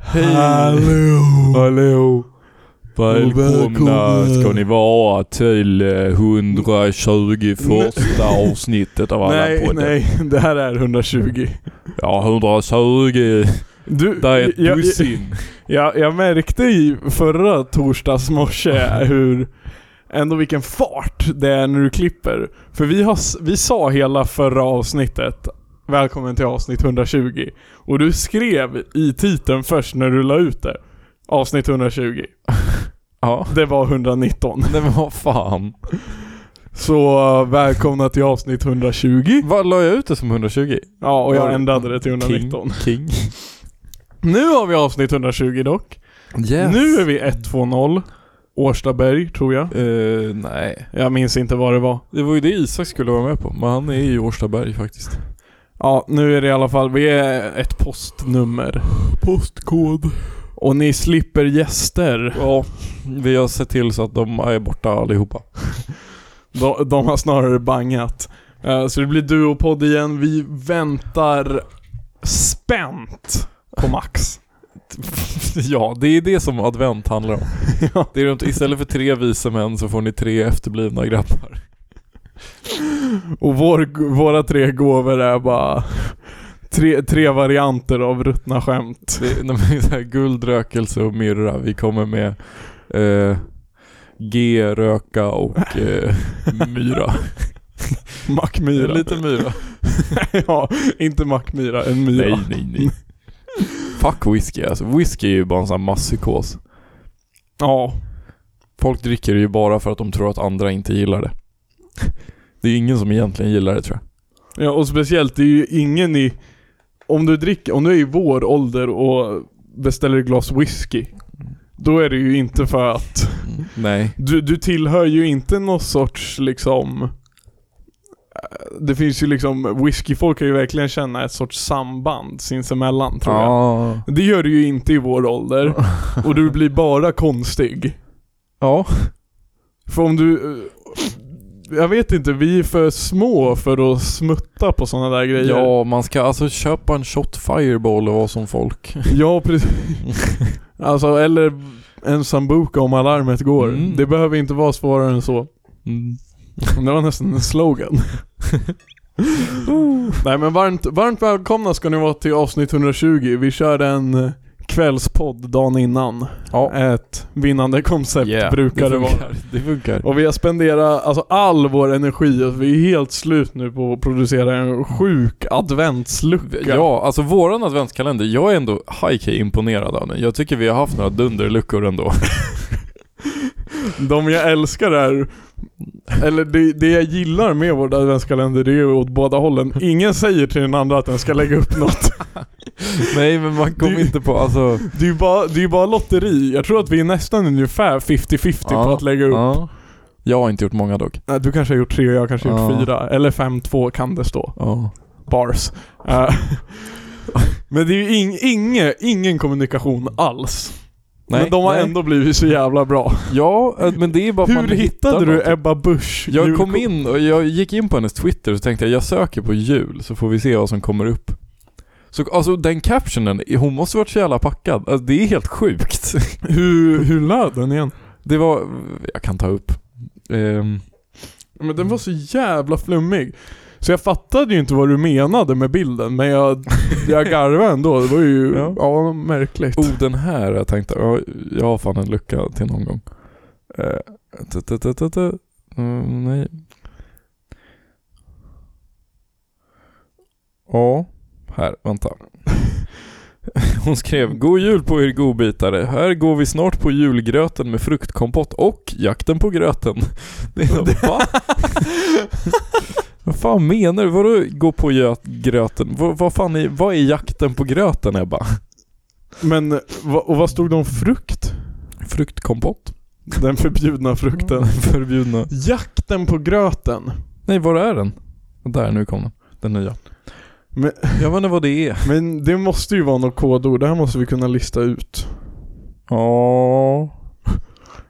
Hej! Hallå! Välkomna ska ni vara till eh, 121 avsnittet av Nej, Allan-podden. nej, det här är 120. Ja, 120. Du, Det är ett jag, dussin. jag, jag märkte i förra torsdags morse hur, ändå vilken fart det är när du klipper. För vi, har, s- vi sa hela förra avsnittet, välkommen till avsnitt 120. Och du skrev i titeln först när du la ut det, avsnitt 120. Ja. Det var 119. Nej men vad fan. Så välkomna till avsnitt 120. Vad la jag ut det som 120? Ja, och Var jag det- ändrade det till King. 119. King. Nu har vi avsnitt 120 dock. Yes. Nu är vi 120 Årstaberg tror jag. Eh, nej. Jag minns inte vad det var. Det var ju det Isak skulle vara med på. Men han är i Årstaberg faktiskt. Ja, nu är det i alla fall, vi är ett postnummer. Postkod. Och ni slipper gäster. Ja. Vi har sett till så att de är borta allihopa. De, de har snarare bangat. Eh, Så det blir duopodd igen. Vi väntar spänt på Max. Ja, det är det som advent handlar om. Ja. Det är runt, istället för tre vise män så får ni tre efterblivna grabbar. Och vår, våra tre gåvor är bara tre, tre varianter av ruttna skämt. Det, de är så här, guld, rökelse och myrra. Vi kommer med eh, G, röka och eh, myra. Mackmyra. Lite myra. ja, inte Mackmyra, en myra. Nej, nej, nej. Fuck whisky alltså. Whisky är ju bara en sån här masspsykos. Ja, Folk dricker det ju bara för att de tror att andra inte gillar det. Det är ingen som egentligen gillar det tror jag. Ja och speciellt, det är ju ingen i... Om du dricker, om du är i vår ålder och beställer ett glas whisky. Då är det ju inte för att... Nej. Du, du tillhör ju inte någon sorts liksom... eh, Det finns ju liksom, whiskyfolk kan ju verkligen känna ett sorts samband sinsemellan tror jag. ah. Det gör du ju inte i vår ålder. Och du blir bara konstig. Ja. För om du... eh, Jag vet inte, vi är för små för att smutta på sådana där grejer. Ja, man ska alltså köpa en shot fireball och vara som folk. Ja, precis. Alltså, eller en sambuca om alarmet går. Mm. Det behöver inte vara svårare än så. Mm. Det var nästan en slogan. Nej men varmt, varmt välkomna ska ni vara till avsnitt 120. Vi kör en eh, kvällspodd dagen innan. Ja. Ett vinnande koncept Yeah, brukar det, det vara. funkar. Det funkar. Och vi har spenderat alltså, all vår energi och vi är helt slut nu på att producera en sjuk adventslucka. Ja, alltså våran adventskalender, jag är ändå high key imponerad av den. Jag tycker vi har haft några dunderluckor ändå. De jag älskar är, eller det, det jag gillar med vår adventskalender det är ju åt båda hållen. Ingen säger till den andra att den ska lägga upp något. Nej men man kom Du- inte på, alltså... Det är ju bara, det är ju bara lotteri. Jag tror att vi är nästan ungefär 50-50 på Ja, att lägga upp. Ja. Jag har inte gjort många dock. Nej, Du kanske har gjort tre och jag har kanske Ja. gjort fyra. Eller fem, två kan det stå. Ja. Bars. Eh, Men det är ju ing, inge, ingen kommunikation alls. Nej, Men de har nej. ändå blivit så jävla bra. Ja, eh, men det är bara att man Hur hittade hittar du någonting. Ebba Busch? Jag jul- kom in och jag gick in på hennes Twitter och så tänkte jag, jag söker på jul så får vi se vad som kommer upp. Så alltså den captionen, hon måste varit så jävla packad. Alltså, det är helt sjukt. Hur, hur löd den igen? Det var, jag kan ta upp. Ehm, Men den var så jävla flummig. Så jag fattade ju inte vad du menade med bilden, men jag, jag garvade ändå. Det var ju ja. Ja. märkligt. oh den här, jag tänkte, ja, jag har fan en lucka till någon gång. Eh, ta, ta, ta, ta, ta. Mm, nej. Ja, här, vänta. Hon skrev God jul på er godbitare. Här går vi snart på julgröten med fruktkompott och jakten på gröten. Det är va? vad fan menar du? Vadå gå på gö- gröten? Vad, vad fan är, vad är jakten på gröten Ebba? Men, va- och vad stod det om frukt? Fruktkompott? Den förbjudna frukten. Den förbjudna. Jakten på gröten. Mm. Nej, var är den? Där, nu kom den. Den nya. Men, Jag vet inte vad det är. men det måste ju vara något kodord, det här måste vi kunna lista ut. Ja.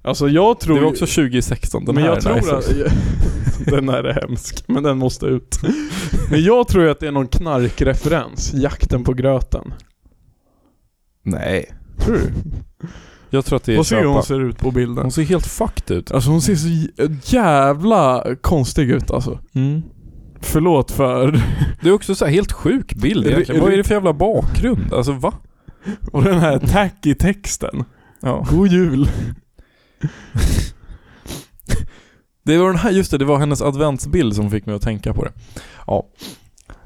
Alltså jag Det tror... var också 2016. Den men här jag är tror nice. att... den här är hemsk, men den måste ut. Men jag tror ju att det är någon knarkreferens, jakten på gröten. Nej. Tror du? Jag tror att det är Vad ser hon köpa. ser ut på bilden? Hon ser helt fucked ut. Alltså hon ser så j- jävla konstig ut alltså. Förlåt för... Det är också så här helt sjuk bild Är det- egentligen. är Vad det- är det för jävla bakgrund? Alltså va? Och den här tacky texten. Ja. God jul. Det var den här, just det, det var hennes adventsbild som fick mig att tänka på det. Ja.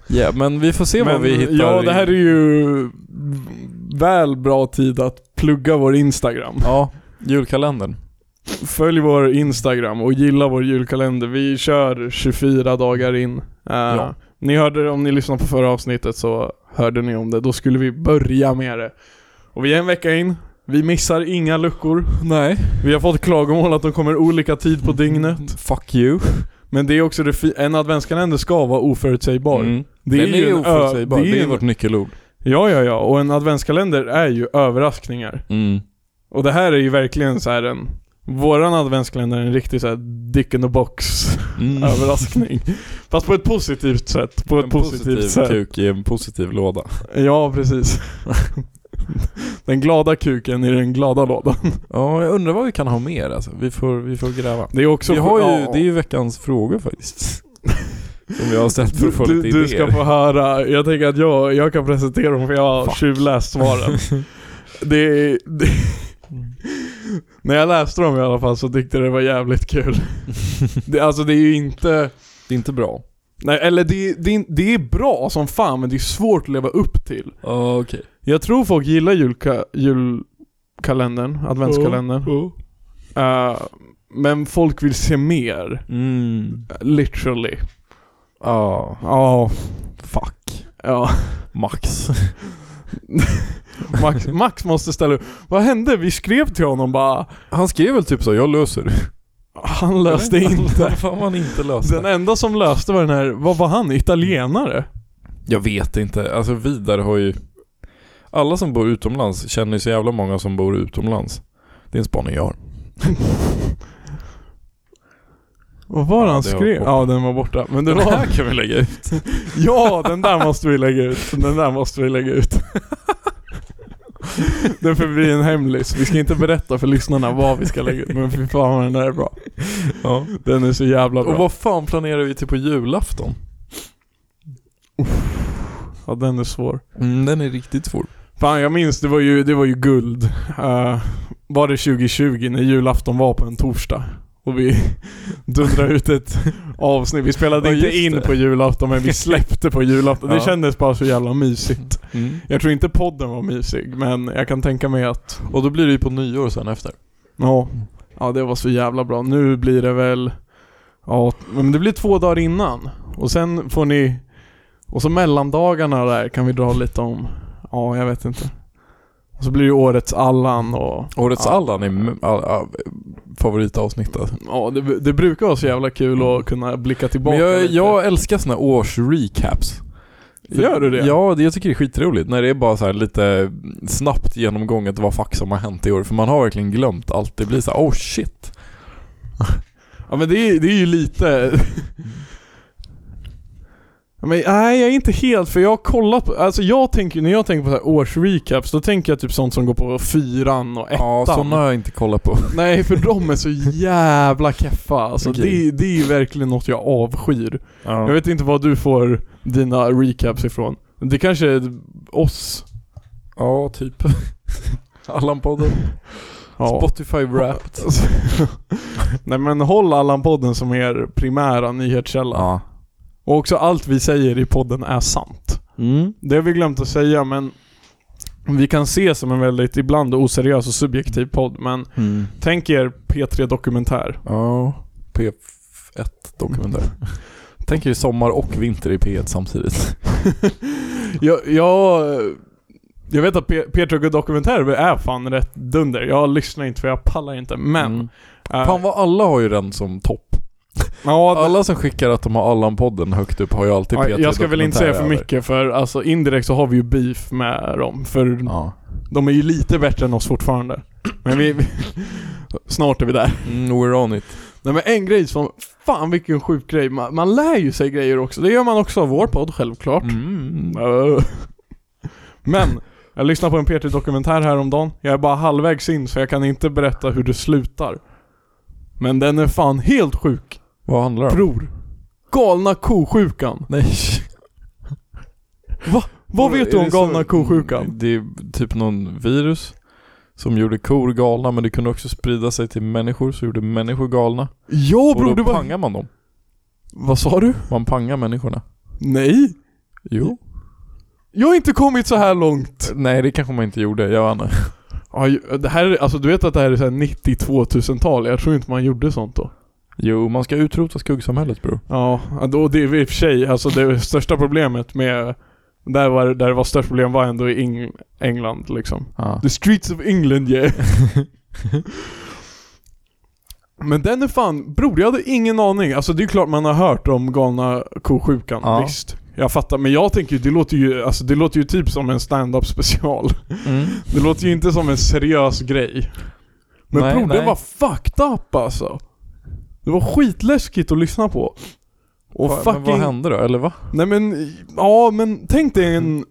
Ja, men vi får se vad Men, vi hittar. Ja, det här är i... ju väl bra tid att plugga vår Instagram. Ja, julkalendern. Följ vår Instagram och gilla vår julkalender. Vi kör 24 dagar in. Eh, Ja. Ni hörde det om ni lyssnade på förra avsnittet så hörde ni om det. Då skulle vi börja med det. Och vi är en vecka in. Vi missar inga luckor. Nej. Mm. Vi har fått klagomål att de kommer olika tid på dygnet. Fuck you. Men det är också det fi- en adventskalender ska vara oförutsägbar. Mm. Det Den är en ö- oförutsägbar. det är en- vårt nyckelord. Ja, ja, ja. Och en adventskalender är ju överraskningar. Mm. Och det här är ju verkligen så här en... Våran adventskalender är en riktig så här dick in the box Mm. överraskning. Fast på ett positivt sätt. På ett en positivt positiv sätt. kuk i en positiv låda. Ja, precis. den glada kuken i den glada lådan. Ja, jag undrar vad vi kan ha mer alltså. Vi får, vi får gräva. Det är också... vi har ju, ja. det är ju veckans frågor faktiskt. Som jag har ställt för att få du, lite du idéer. ska få höra, jag tänker att jag, jag kan presentera dem för jag har Fuck. tjuvläst svaren. det, är- det Mm. När jag läste dem i alla fall så tyckte jag det var jävligt kul. det, alltså det är ju inte, Det är inte bra. nej, eller det, det, det är bra som fan men det är svårt att leva upp till. Ja, okej. Jag tror folk gillar julka, julkalendern, adventskalendern. Eh, men folk vill se mer. Mm. Literally. Ja, Ja. fuck. Ja. Max. Max, Max måste ställa upp. Vad hände? Vi skrev till honom bara, Han skrev väl typ så, jag löser det. han löste inte. Vad fan man inte Den löste. enda som löste var den här, vad var han? Italienare? Jag vet inte. Alltså vi där har ju... Alla som bor utomlands känner ju så jävla många som bor utomlands. Det är en spaning jag har. Vad var Ja, det han det var skrev? borta. Ja, den var borta. Men det Den var... här kan vi lägga ut. Ja, den där måste vi lägga ut. Den där måste vi lägga ut. Den får bli en hemlis. Vi ska inte berätta för lyssnarna vad vi ska lägga ut, men fy fan vad den där är bra. Ja. Den är så jävla bra. Och vad fan planerar vi till på julafton? Ja, den är svår. Mm, den är riktigt svår. Fan jag minns, det var ju, det var ju guld. Eh, var det 2020 när julafton var på en torsdag? Och vi dundrade ut ett avsnitt. Vi spelade Ja, inte just in det. på julafton men vi släppte på julafton. Det Ja. kändes bara så jävla mysigt. Mm. Jag tror inte podden var mysig men jag kan tänka mig att Och då blir det ju på nyår sen efter. ja, ja det var så jävla bra. Nu blir det väl ja, men det blir två dagar innan. Och sen får ni och så mellandagarna där kan vi dra lite om ja, jag vet inte. Och så blir det årets Allan och Årets Ja. Allan är m- all, all, favoritavsnitt alltså. Ja, det, det brukar vara så jävla kul att kunna blicka tillbaka Men jag, lite. jag älskar såna årsrecaps. För- Gör du det? Ja, det, jag tycker det är skitroligt när det är bara så här lite snabbt genomgånget vad fuck som har hänt i år. För man har verkligen glömt allt. Det blir så här, oh shit. Ja, men det är, det är ju lite... Ja, Men, nej, jag är inte helt, för jag har kollat på, alltså jag tänker, när jag tänker på så här årsrecaps, då tänker jag typ sånt som går på fyran och ettan. Ja, sådana har jag inte kollat på. Nej, för de är så jävla keffa alltså. Okej. Det, det är ju verkligen något jag avskyr. Jag Ja. vet inte var du får dina recaps ifrån. Det kanske är oss? ja, typ. Allan-podden. Spotify Wrapped. Alltså, Nej men håll Allan-podden som er primära nyhetskälla. Ja. Och också allt vi säger i podden är sant. Mm. Det har vi glömt att säga men vi kan se som en väldigt ibland oseriös och subjektiv podd men Mm. tänk er P3 Dokumentär. Ja, P1 dokumentär. Tänker ju sommar och vinter i P1 samtidigt. Jag, jag, jag vet att P- P3 Dokumentär är fan rätt dunder. Jag lyssnar inte för jag pallar inte men... Mm. eh, Fan vad alla har ju den som topp. ja, det- Alla som skickar att de har Allan-podden högt upp har ju alltid P3 ja, jag ska väl inte säga dokumentär för över. mycket för alltså indirekt så har vi ju beef med dem för Ja. De är ju lite bättre än oss fortfarande. Men vi... vi snart är vi där. Mm, we're on it. Nej men en grej som... Fan vilken sjuk grej. Man, man lär ju sig Mm. grejer också. Det gör man också av vår podd självklart. Mm. Öh. Men... Jag lyssnade på en P3 Dokumentär häromdagen. Jag är bara halvvägs in så jag kan inte berätta hur det slutar. Men den är fan helt sjuk. Vad handlar det om? Bror. Galna kosjukan. Nej. Va? Vad Är vet du om det så- galna kosjukan? Det är typ någon virus som gjorde kor galna men det kunde också sprida sig till människor så gjorde människor galna. Ja Och bror, då du var... pangar man dem. Vad sa du? Man pangar människorna. Nej. Jo. Jag har inte kommit så här långt. Nej det kanske man inte gjorde, jag vet inte. Ja, ju- det här, är- alltså du vet att det här är så här 92 000-tal. Jag tror inte man gjorde sånt då. Jo, man ska utrota skuggsamhället bror. Ja, och det är i och för sig, alltså det största problemet med där, var, där det var störst problem var ändå i Eng England liksom. Ah. The streets of England yeah. Men den är fan, bror jag hade ingen aning. Alltså det är ju klart man har hört om galna kosjukan, Ja. visst. Jag fattar, men jag tänker ju, det låter ju, alltså det låter ju typ som en stand-up special. Mm. Det låter ju inte som en seriös grej. Men Nej, bror, nej. det var fucked up alltså. Det var skitläskigt att lyssna på. Och Va- men vad fucking... hände då? Eller va? Nej men, ja men tänk dig en...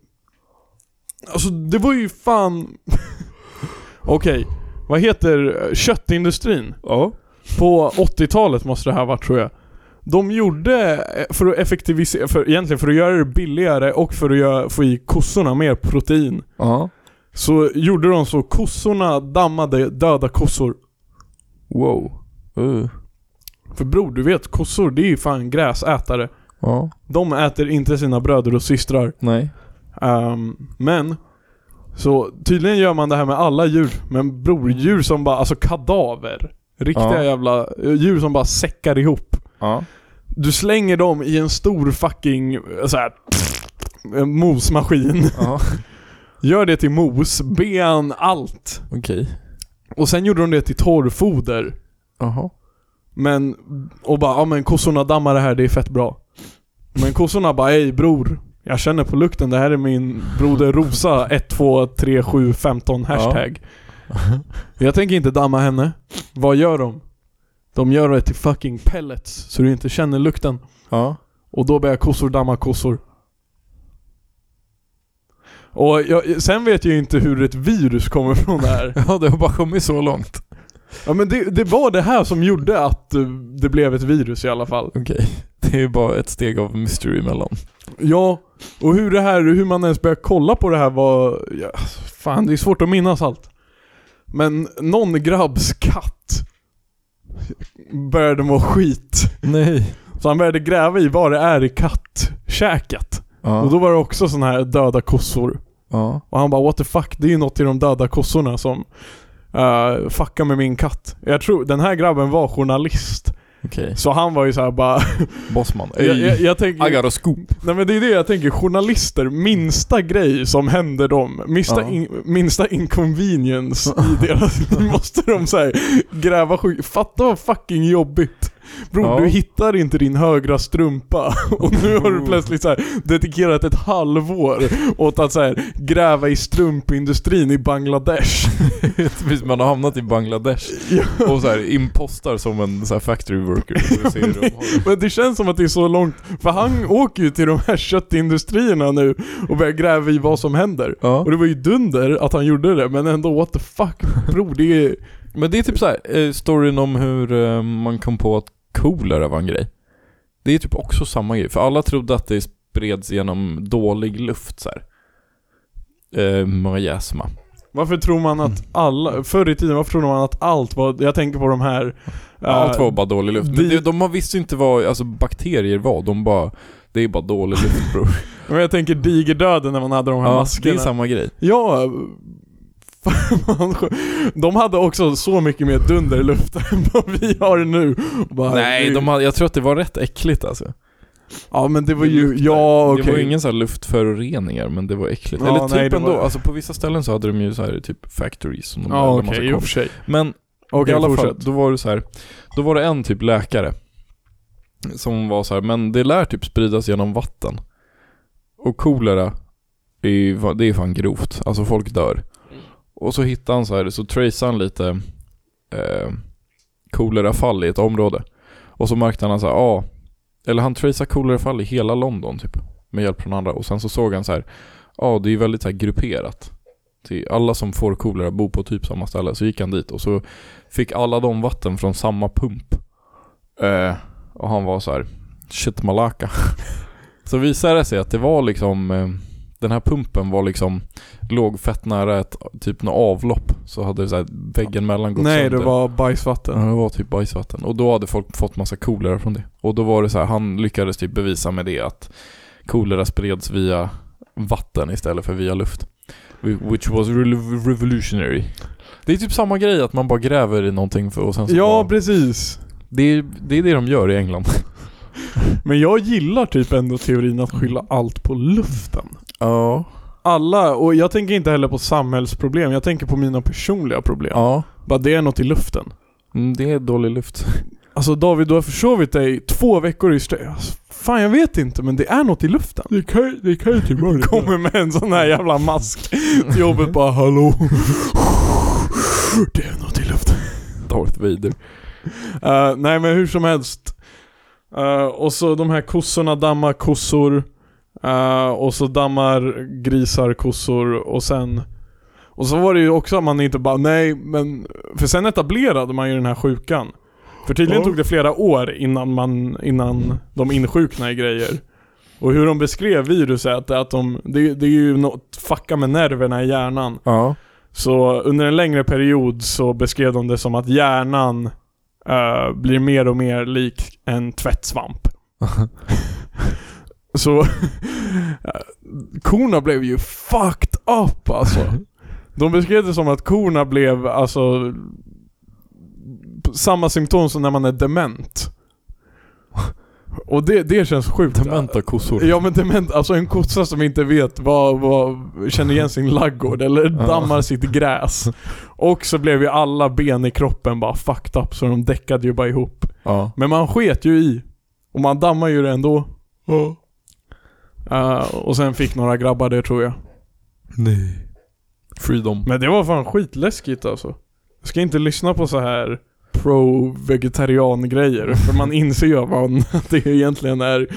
Alltså det var ju fan... Okej, vad heter eh, köttindustrin? Ja. På 80-talet måste det här varit tror jag. De gjorde, eh, för att effektivisera, för, egentligen för att göra det billigare och för att göra, få i kossorna mer protein. Ja. Så gjorde de så kossorna dammade döda kossor. Wow. Uh. För bror, du vet kossor det är ju fan gräsätare. Ja. De äter inte sina bröder och systrar. Nej. Ehm, men Så tydligen gör man det här med alla djur Men bror, djur som bara, alltså kadaver Ja. Riktiga jävla eh, djur som bara säckar ihop Ja. Du slänger dem i en stor fucking eh, så här, en mosmaskin Ja. Gör det till mos, ben, allt Okej. Och sen gjorde de det till torrfoder Jaha. Men, och bara ja men kossorna dammar det här, det är fett bra Men kossorna bara ej bror Jag känner på lukten, det här är min broder Rosa 123715 hashtag Jag tänker inte damma henne Vad gör de? De gör det till fucking pellets så du inte känner lukten Ja. Och då börjar kossor damma kossor Och jag, sen vet jag ju inte hur ett virus kommer från det här Ja, det har bara kommit så långt. Ja men det, det var det här som gjorde att eh, det blev ett virus i alla fall Okej. Det är bara ett steg av mystery emellan. Ja, och hur det här, hur man ens började kolla på det här var... Ja, fan, det är svårt att minnas allt. Men någon grabbs katt började må skit. Nej. Så han började gräva i vad det är i kattkäket. Ja. Och då var det också sådana här döda kossor. ja. Och han bara what the fuck, det är ju något i de döda kossorna som uh, fuckar med min katt. Jag tror, den här grabben var journalist. Okej. Så han var ju såhär bara... Bossman. jag, jag, jag tänker, I got a scoop. Nej men det är det jag tänker, journalister, minsta grej som händer dem, minsta, Ja. in, minsta inconvenience i deras liv måste de så här, gräva sjuk. Fatta vad fucking jobbigt. Bror, Ja. du hittar inte din högra strumpa och nu har du Oh. plötsligt så här, dedikerat ett halvår åt att så här, gräva i strumpindustrin i Bangladesh. Precis, man har hamnat i Bangladesh Ja. och så här impostar som en så här factory worker. Och ser hur de har det. Men det känns som att det är så långt, för han åker ju till de här köttindustrierna nu och börjar gräva i vad som händer. Ja. Och det var ju dunder att han gjorde det, men ändå what the fuck bror, det är... Men det är typ så här, eh, storyn om hur eh, man kom på att kolera var en grej. Det är typ också samma grej, för alla trodde att det spreds genom dålig luft så här. Eh, Miasma. Varför tror man att alla, förr i tiden, varför trodde man att allt var, jag tänker på de här... eh, Allt var bara dålig luft. Men det- det, de har visste inte vad alltså, bakterier var, de bara Det är bara dålig luft bror. Men jag tänker digerdöden när man hade de här ja, det maskerna. är samma grej. Ja, fan, man, de hade också så mycket mer dunderluft än vad vi har nu. Och bara, Nej, det- de hade, jag tror att det var rätt äckligt alltså. Ja men det var Det ju, luktar. ja okej. Det var ju ingen så här luftföroreningar men det var äckligt. Ja, Eller typ nej, det ändå, var- alltså på vissa ställen så hade de ju så här typ factories som de Ja hade okej, i och för sig. Men Okej, I alla fall, fortsätt. då var det så här. Då var det en typ läkare som var så här, men det lär typ spridas genom vatten. Och kolera, är ju va- det är fan grovt. Alltså folk dör. Och så hittade han så här, så traceade han lite eh, kolerafall i ett område. Och så märkte han så här, ja. Eller han traceade kolerafall i hela London typ. Med hjälp från andra. Och sen så såg han så här, ja det är ju väldigt så här grupperat. till alla som får kolera bor på typ samma ställe. Så gick han dit och så fick alla de vatten från samma pump. Eh, och han var så här, shit malaka. så visade det sig att det var liksom, eh, den här pumpen var liksom, låg fett nära ett typ något avlopp. Så hade det så här, väggen mellan gått Nej, sönder. det var bajsvatten. Ja, det var typ bajsvatten. Och då hade folk fått massa kolera från det. Och då var det så här, han lyckades typ bevisa med det att kolera spreds via vatten istället för via luft. Which was re- revolutionary. Det är typ samma grej att man bara gräver i någonting för, och sen så Ja, bara, precis. det, är, det är det de gör i England. Men jag gillar typ ändå teorin att skylla Mm. allt på luften. Ja. Alla, och jag tänker inte heller på samhällsproblem, jag tänker på mina personliga problem. Ja. Bara det är något i luften. Mm, Det är dålig luft. Alltså David, du har försovit dig två veckor i strö. Alltså, fan jag vet inte, men det är något i luften. Det kan, det kan ju typ vara Kommer med en sån här jävla mask till jobbet bara hallå. Mm. Det är något i luften. Darth Vader. Eh, nej men hur som helst. Eh, och så de här kossorna dammar kossor. Eh, och så dammar grisar kossor och sen Och så var det ju också att man inte bara nej men För sen etablerade man ju den här sjukan. För tydligen Ja. tog det flera år innan man, innan de insjuknade i grejer. Och hur de beskrev viruset är att de, det, det är ju något fucka med nerverna i hjärnan. Ja. Så under en längre period så beskrev de det som att hjärnan eh, blir mer och mer lik en tvättsvamp. så eh, korna blev ju fucked up alltså. De beskrev det som att korna blev alltså samma symptom som när man är dement. Och det, det känns sjukt. Dementa kossor. Ja men dement, alltså en kossa som inte vet vad, vad känner igen sin laggård eller Ja. dammar sitt gräs. Och så blev ju alla ben i kroppen bara fucked up så de däckade ju bara ihop. Ja. Men man sket ju i. Och man dammar ju det ändå. Eh, och sen fick några grabbar det tror jag. Nej. Freedom. Men det var fan skitläskigt alltså. Jag ska inte lyssna på så här pro-vegetarian grejer. För man inser ju att, man, att det egentligen är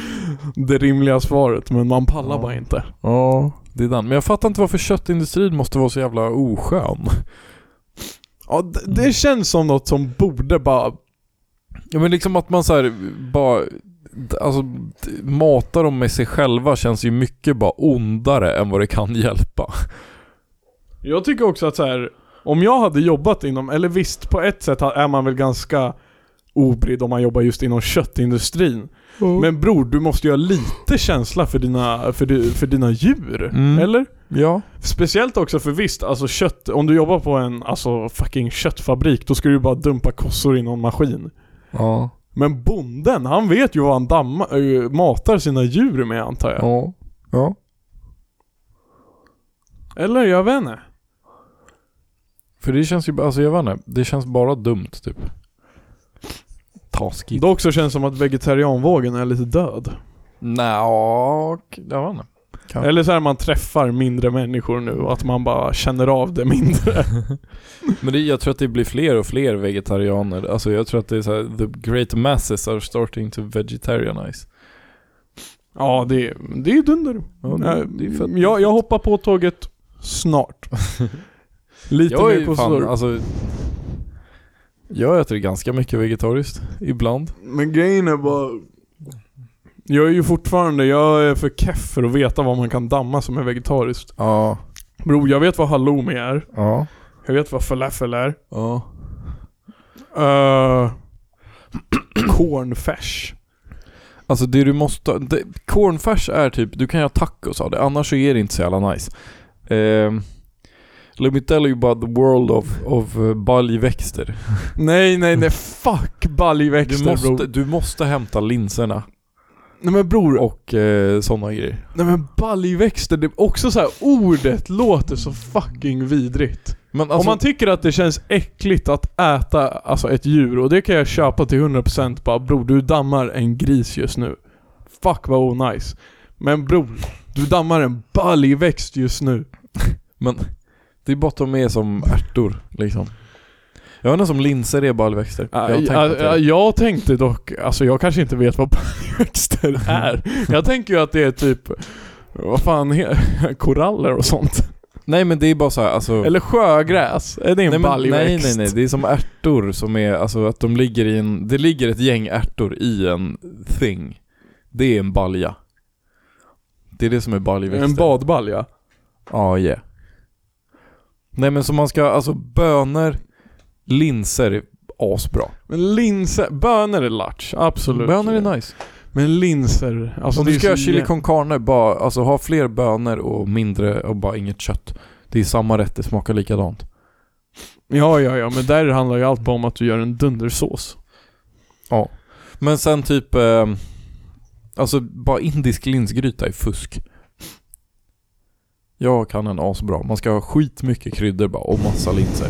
det rimliga svaret. Men man pallar Ja. bara inte. Ja, det är den. Men jag fattar inte varför köttindustrin måste vara så jävla oskön. Ja, det, det känns som något som borde bara... Ja men liksom att man så här, bara, alltså d- matar dem med sig själva känns ju mycket bara ondare än vad det kan hjälpa. Jag tycker också att så här, om jag hade jobbat inom, eller visst på ett sätt ha- är man väl ganska obrydd om man jobbar just inom köttindustrin. Men bror, du måste ju ha lite känsla för dina, för di, för dina djur. Mm. Eller? Ja. Speciellt också för visst, alltså kött, om du jobbar på en alltså fucking köttfabrik, då ska du ju bara dumpa kossor i någon maskin. Ja. Men bonden, han vet ju vad han damma, ö, matar sina djur med antar jag. Ja. Ja. Eller jag vet inte. För det känns ju, bara- alltså jag vet inte, det känns bara dumt typ. Taskigt. Det också känns som att vegetarianvågen är lite död. Nja, och- jag vet inte. Ja. Eller så här man träffar mindre människor nu, att man bara känner av det mindre. Men det, jag tror att det blir fler och fler vegetarianer. Alltså jag tror att det är så här, the great masses are starting to vegetarianize. ja, det, det är dunder. Ja, det, det är fett. jag, jag hoppar på tåget snart. lite jag är mer ju fan, kossor. alltså Jag äter ganska mycket vegetariskt, ibland Men grejen är bara... Jag är ju fortfarande, jag är för keff för att veta vad man kan damma som är vegetariskt. Ja, Bro, jag vet vad halloumi är. ja, Jag vet vad falafel är. ja Uh, cornfärs. Alltså det du måste, det, cornfärs är typ, du kan göra tacos av det, annars så är det inte så jävla nice Ehm, Let me tell you about the world of, of eh, baljväxter Nej, nej, nej. Fuck du baljväxter måste, bror. du måste hämta linserna Nej men bror. och eh, sådana grejer Nej men baljväxter, det är också så här, ordet låter så fucking vidrigt. Men alltså, Om man tycker att det känns äckligt att äta alltså ett djur, och det kan jag köpa till 100% bara bror, du dammar en gris just nu. Fuck vad onajs. Men bror, du dammar en baljväxt just nu. men det är bara att de är som ärtor liksom Jag vet inte om linser är baljväxter Jag har Jag, tänkt att det är- jag, jag tänkte dock, alltså jag kanske inte vet vad baljväxter är. Jag tänker ju att det är typ, vad fan, he- koraller och sånt. Nej men det är bara så här, alltså... Eller sjögräs, är det nej, en men- nej baljväxt? nej nej, det är som ärtor som är, alltså att de ligger i en, det ligger ett gäng ärtor i en thing. Det är en balja. Det är det som är baljväxter. En badbalja? Ja, yeah. Nej men så man ska, alltså bönor, linser är asbra. Men linser, bönor är latch, absolut. Bönor är nice. Men linser, alltså Om det du är ska så göra chili jä- con carne, bara, alltså ha fler bönor och mindre och bara inget kött. Det är samma rätt, det smakar likadant. Ja, ja, ja, men där handlar ju allt bara om att du gör en dundersås. Men sen typ, eh, alltså bara indisk linsgryta är fusk. Jag kan en asbra. Man ska ha skitmycket kryddor bara och massa linser.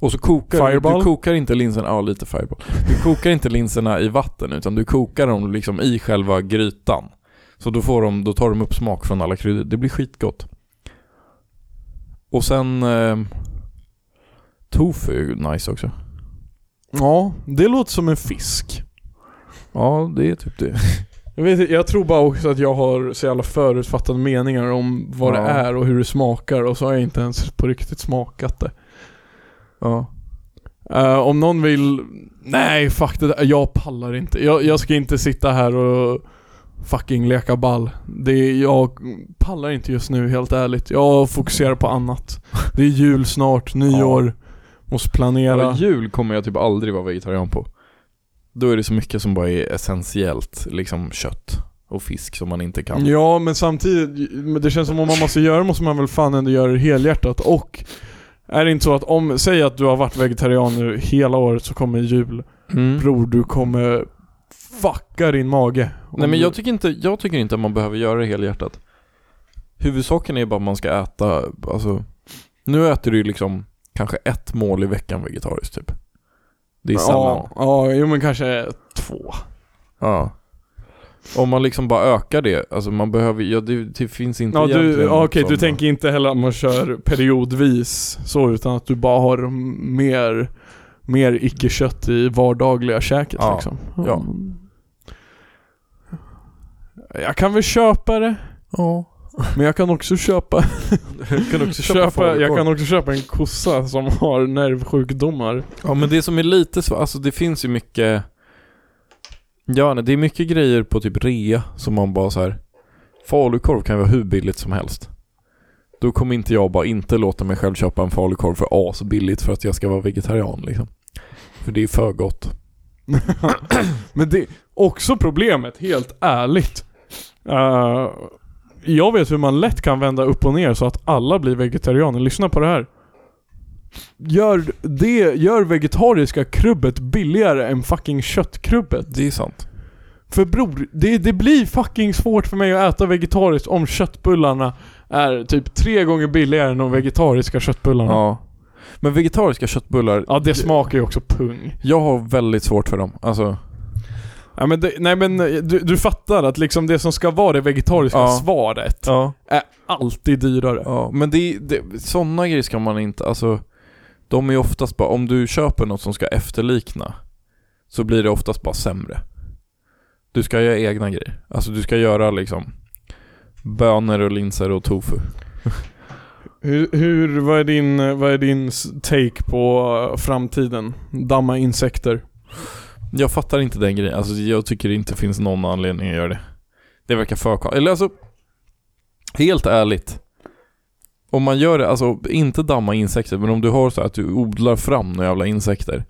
Och så kokar Fireball? du kokar inte linserna, ja lite fireball. Du kokar inte linserna i vatten utan du kokar dem liksom i själva grytan. Så då, får de, då tar de upp smak från alla kryddor. Det blir skitgott. Och sen eh, tofu är ju nice också. Ja, det låter som en fisk. Ja, det är typ det. Jag, vet, inte, jag tror bara också att jag har så jävla förutfattade meningar om vad Ja. det är och hur det smakar och så har jag inte ens på riktigt smakat det. Ja. Eh, om någon vill... Nej, fuck det där. Jag pallar inte. Jag, jag ska inte sitta här och fucking leka ball. Det är, jag pallar inte just nu, helt ärligt. Jag fokuserar på annat. Det är jul snart, nyår. Måste Ja, planera. jul kommer jag typ aldrig vara vegetarian på. Då är det så mycket som bara är essentiellt, liksom kött och fisk som man inte kan. Ja, men samtidigt, men det känns som om man måste göra det måste man väl fan ändå göra det helhjärtat. Och är det inte så att om, säg att du har varit vegetarian nu hela året så kommer jul. Mm. Bror, du kommer fucka din mage. Om Nej men du- jag tycker, inte, jag tycker inte att man behöver göra det helhjärtat. Huvudsaken är bara att man ska äta, alltså. Nu äter du ju liksom kanske ett mål i veckan vegetariskt typ. Det är sällan. Ja, ja jo, men kanske två. Ja. Om man liksom bara ökar det, alltså man behöver, ja det, det finns inte Ja, du, egentligen ja, något okej, du som- tänker inte heller att man kör periodvis så utan att du bara har mer, mer icke-kött i vardagliga käket Ja, liksom. ja. Jag kan väl köpa det, Ja. men jag kan också köpa, Jag kan också köpa, köpa jag falukorv. kan också köpa en kossa som har nervsjukdomar. Ja men det som är lite så, alltså det finns ju mycket Ja nej, det är mycket grejer på typ rea som man bara så här. Falukorv kan ju vara hur billigt som helst Då kommer inte jag bara inte låta mig själv köpa en falukorv för asbilligt för att jag ska vara vegetarian liksom För det är för gott Men det är också problemet, helt ärligt. Eh, jag vet hur man lätt kan vända upp och ner så att alla blir vegetarianer. Lyssna på det här. Gör, det, gör vegetariska krubbet billigare än fucking köttkrubbet. Det är sant För bror, det, det blir fucking svårt för mig att äta vegetariskt om köttbullarna är typ tre gånger billigare än de vegetariska köttbullarna. Ja, Ja Men vegetariska köttbullar det smakar ju också pung. Jag har väldigt svårt för dem, alltså Ja, men det, nej men du, du fattar att liksom det som ska vara det vegetariska Ja. svaret Ja är alltid dyrare. Ja, men det, det, sådana grejer ska man inte, alltså de är oftast bara, om du köper något som ska efterlikna så blir det oftast bara sämre. Du ska göra egna grejer. Alltså du ska göra liksom bönor och linser och tofu. Hur, hur, vad är din, vad är din s- take på eh, framtiden? Damma insekter. Jag fattar inte den grejen, alltså jag tycker det inte finns någon anledning att göra det. Det verkar för kon- eller alltså helt ärligt. Om man gör det, alltså inte damma insekter, men om du har så här att du odlar fram några jävla insekter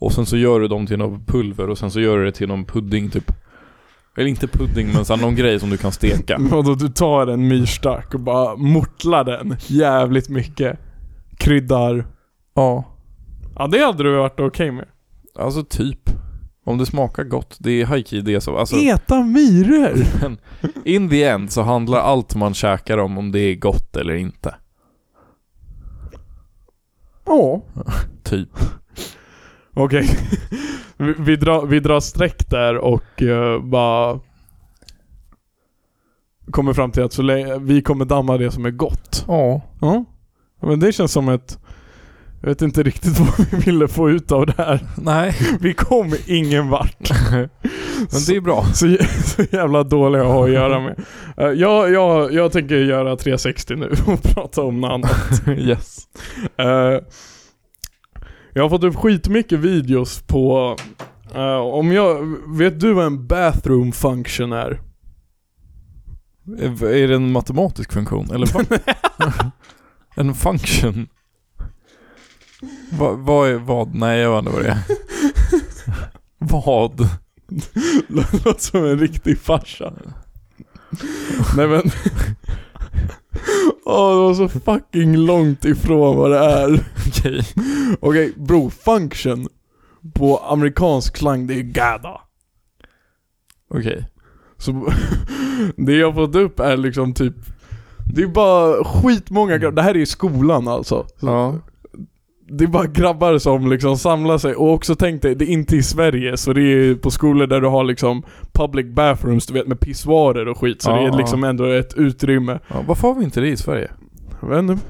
och sen så gör du dem till något pulver och sen så gör du det till någon pudding typ. Eller inte pudding, men så här någon grej som du kan steka. Vadå, du tar en myrstack och bara mortlar den jävligt mycket. Kryddar. Ja, Ja, det hade du varit okej med. alltså typ. Om det smakar gott, det är high key det som, alltså Äta myror! in the end så handlar allt man käkar om, om det är gott eller inte. Ja. Typ. Okej. vi, vi, drar, vi drar streck där och eh, bara kommer fram till att så länge, vi kommer damma det som är gott. Ja. Ja. Men det känns som ett Jag vet inte riktigt vad vi ville få ut av det här. Nej, Vi kom ingen vart. men det är bra. Så, jä- så jävla dåliga att ha att göra med. Eh, Jag, jag, jag tänker göra 360 nu och prata om något annat. yes. Eh, jag har fått upp skitmycket videos på... eh, om jag, vet du vad en bathroom function är? Är är det en matematisk funktion? Eller vad? en function? Va- Vad är vad? Nej, jag vet inte vad det är. vad? Låter som en riktig farsa. Nej men... Åh, det var så fucking långt ifrån vad det är. Okej. Okej, bro, function på amerikansk klang det är gada. Okej. Så det jag fått upp är liksom typ det är bara skitmånga grabbar, det här är i skolan alltså. Så Ja. Det är bara grabbar som liksom samlar sig och också tänk dig, det är inte i Sverige så det är på skolor där du har liksom public bathrooms, du vet med pissoarer och skit. Så Ja, det ja. är liksom ändå ett utrymme. ja. Varför har vi inte det i Sverige? Men,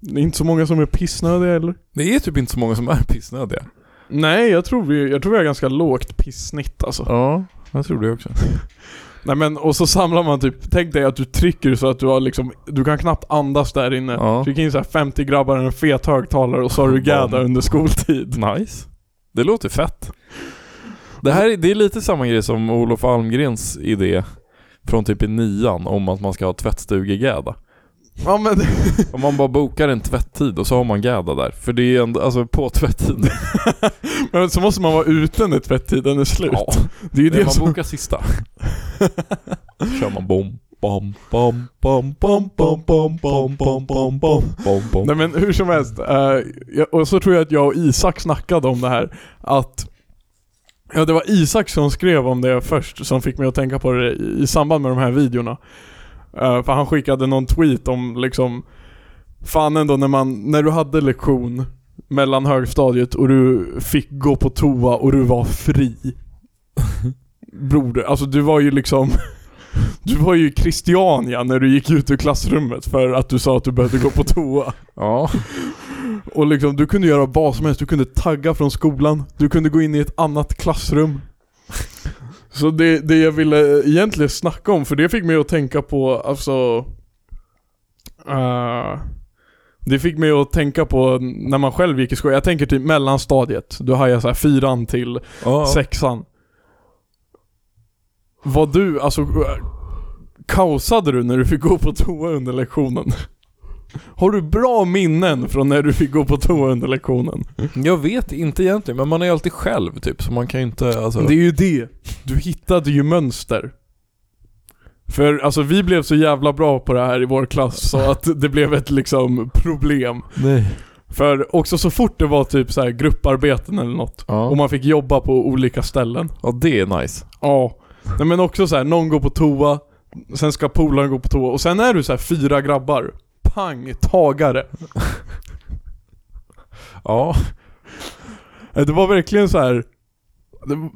det är inte så många som är pissnödiga eller? Det är typ inte så många som är pissnödiga. Nej, jag tror vi, jag tror vi har ganska lågt pissnitt alltså. Ja, jag tror det också. Nej men och så samlar man typ, tänk dig att du trycker så att du har liksom, du kan knappt andas där inne. Ja. Tryck in så här 50 grabbar och en fet högtalare och så har du gadda under skoltid. Nice. Det låter fett. Det här är, det är lite samma grej som Olof Almgrens idé från typ i nian om att man ska ha tvättstugegädda. Ja men, Om man bara bokar en tvätttid och så har man gädda där. För det är ju ändå, alltså på tvätttiden. men så måste man vara ute när tvättiden är slut. Ja, det är ju det det man som... bokar sista. kör man bom, bom, bom, bom, bom, bom, bom, bom, bom, bom, bom, bom, bom. Nej men hur som helst, eh, jag- och så tror jag att jag och Isak snackade om det här, att Ja det var Isak som skrev om det först, som fick mig att tänka på det i, i samband med de här videorna. Eh, för han skickade någon tweet om liksom, fan ändå när man, när du hade lektion mellan högstadiet och du fick gå på toa och du var fri. Broder, alltså du var ju liksom du var ju Christiania när du gick ut ur klassrummet för att du sa att du behövde gå på toa. Ja, Och liksom, du kunde göra vad som helst, du kunde tagga från skolan, du kunde gå in i ett annat klassrum. Så det, det jag ville egentligen snacka om, för det fick mig att tänka på, alltså... eh, det fick mig att tänka på när man själv gick i skolan, jag tänker typ mellanstadiet, du hajar såhär fyran till ja. sexan. Var du, alltså... eh, Kaosade du när du fick gå på toa under lektionen? Har du bra minnen från när du fick gå på toa under lektionen? jag vet inte egentligen men man är ju alltid själv typ så man kan ju inte alltså. Det är ju det. Du hittade ju mönster. För alltså vi blev så jävla bra på det här i vår klass så att det blev ett liksom problem. Nej. För också så fort det var typ så här grupparbeten eller något och Ja. man fick jobba på olika ställen. ja, det är nice. Ja. Nej, men också så här, någon går på toa, sen ska polaren gå på toa och sen är du så här fyra grabbar. Pang, tagare. Ja. Eh, Det var verkligen så här. Det,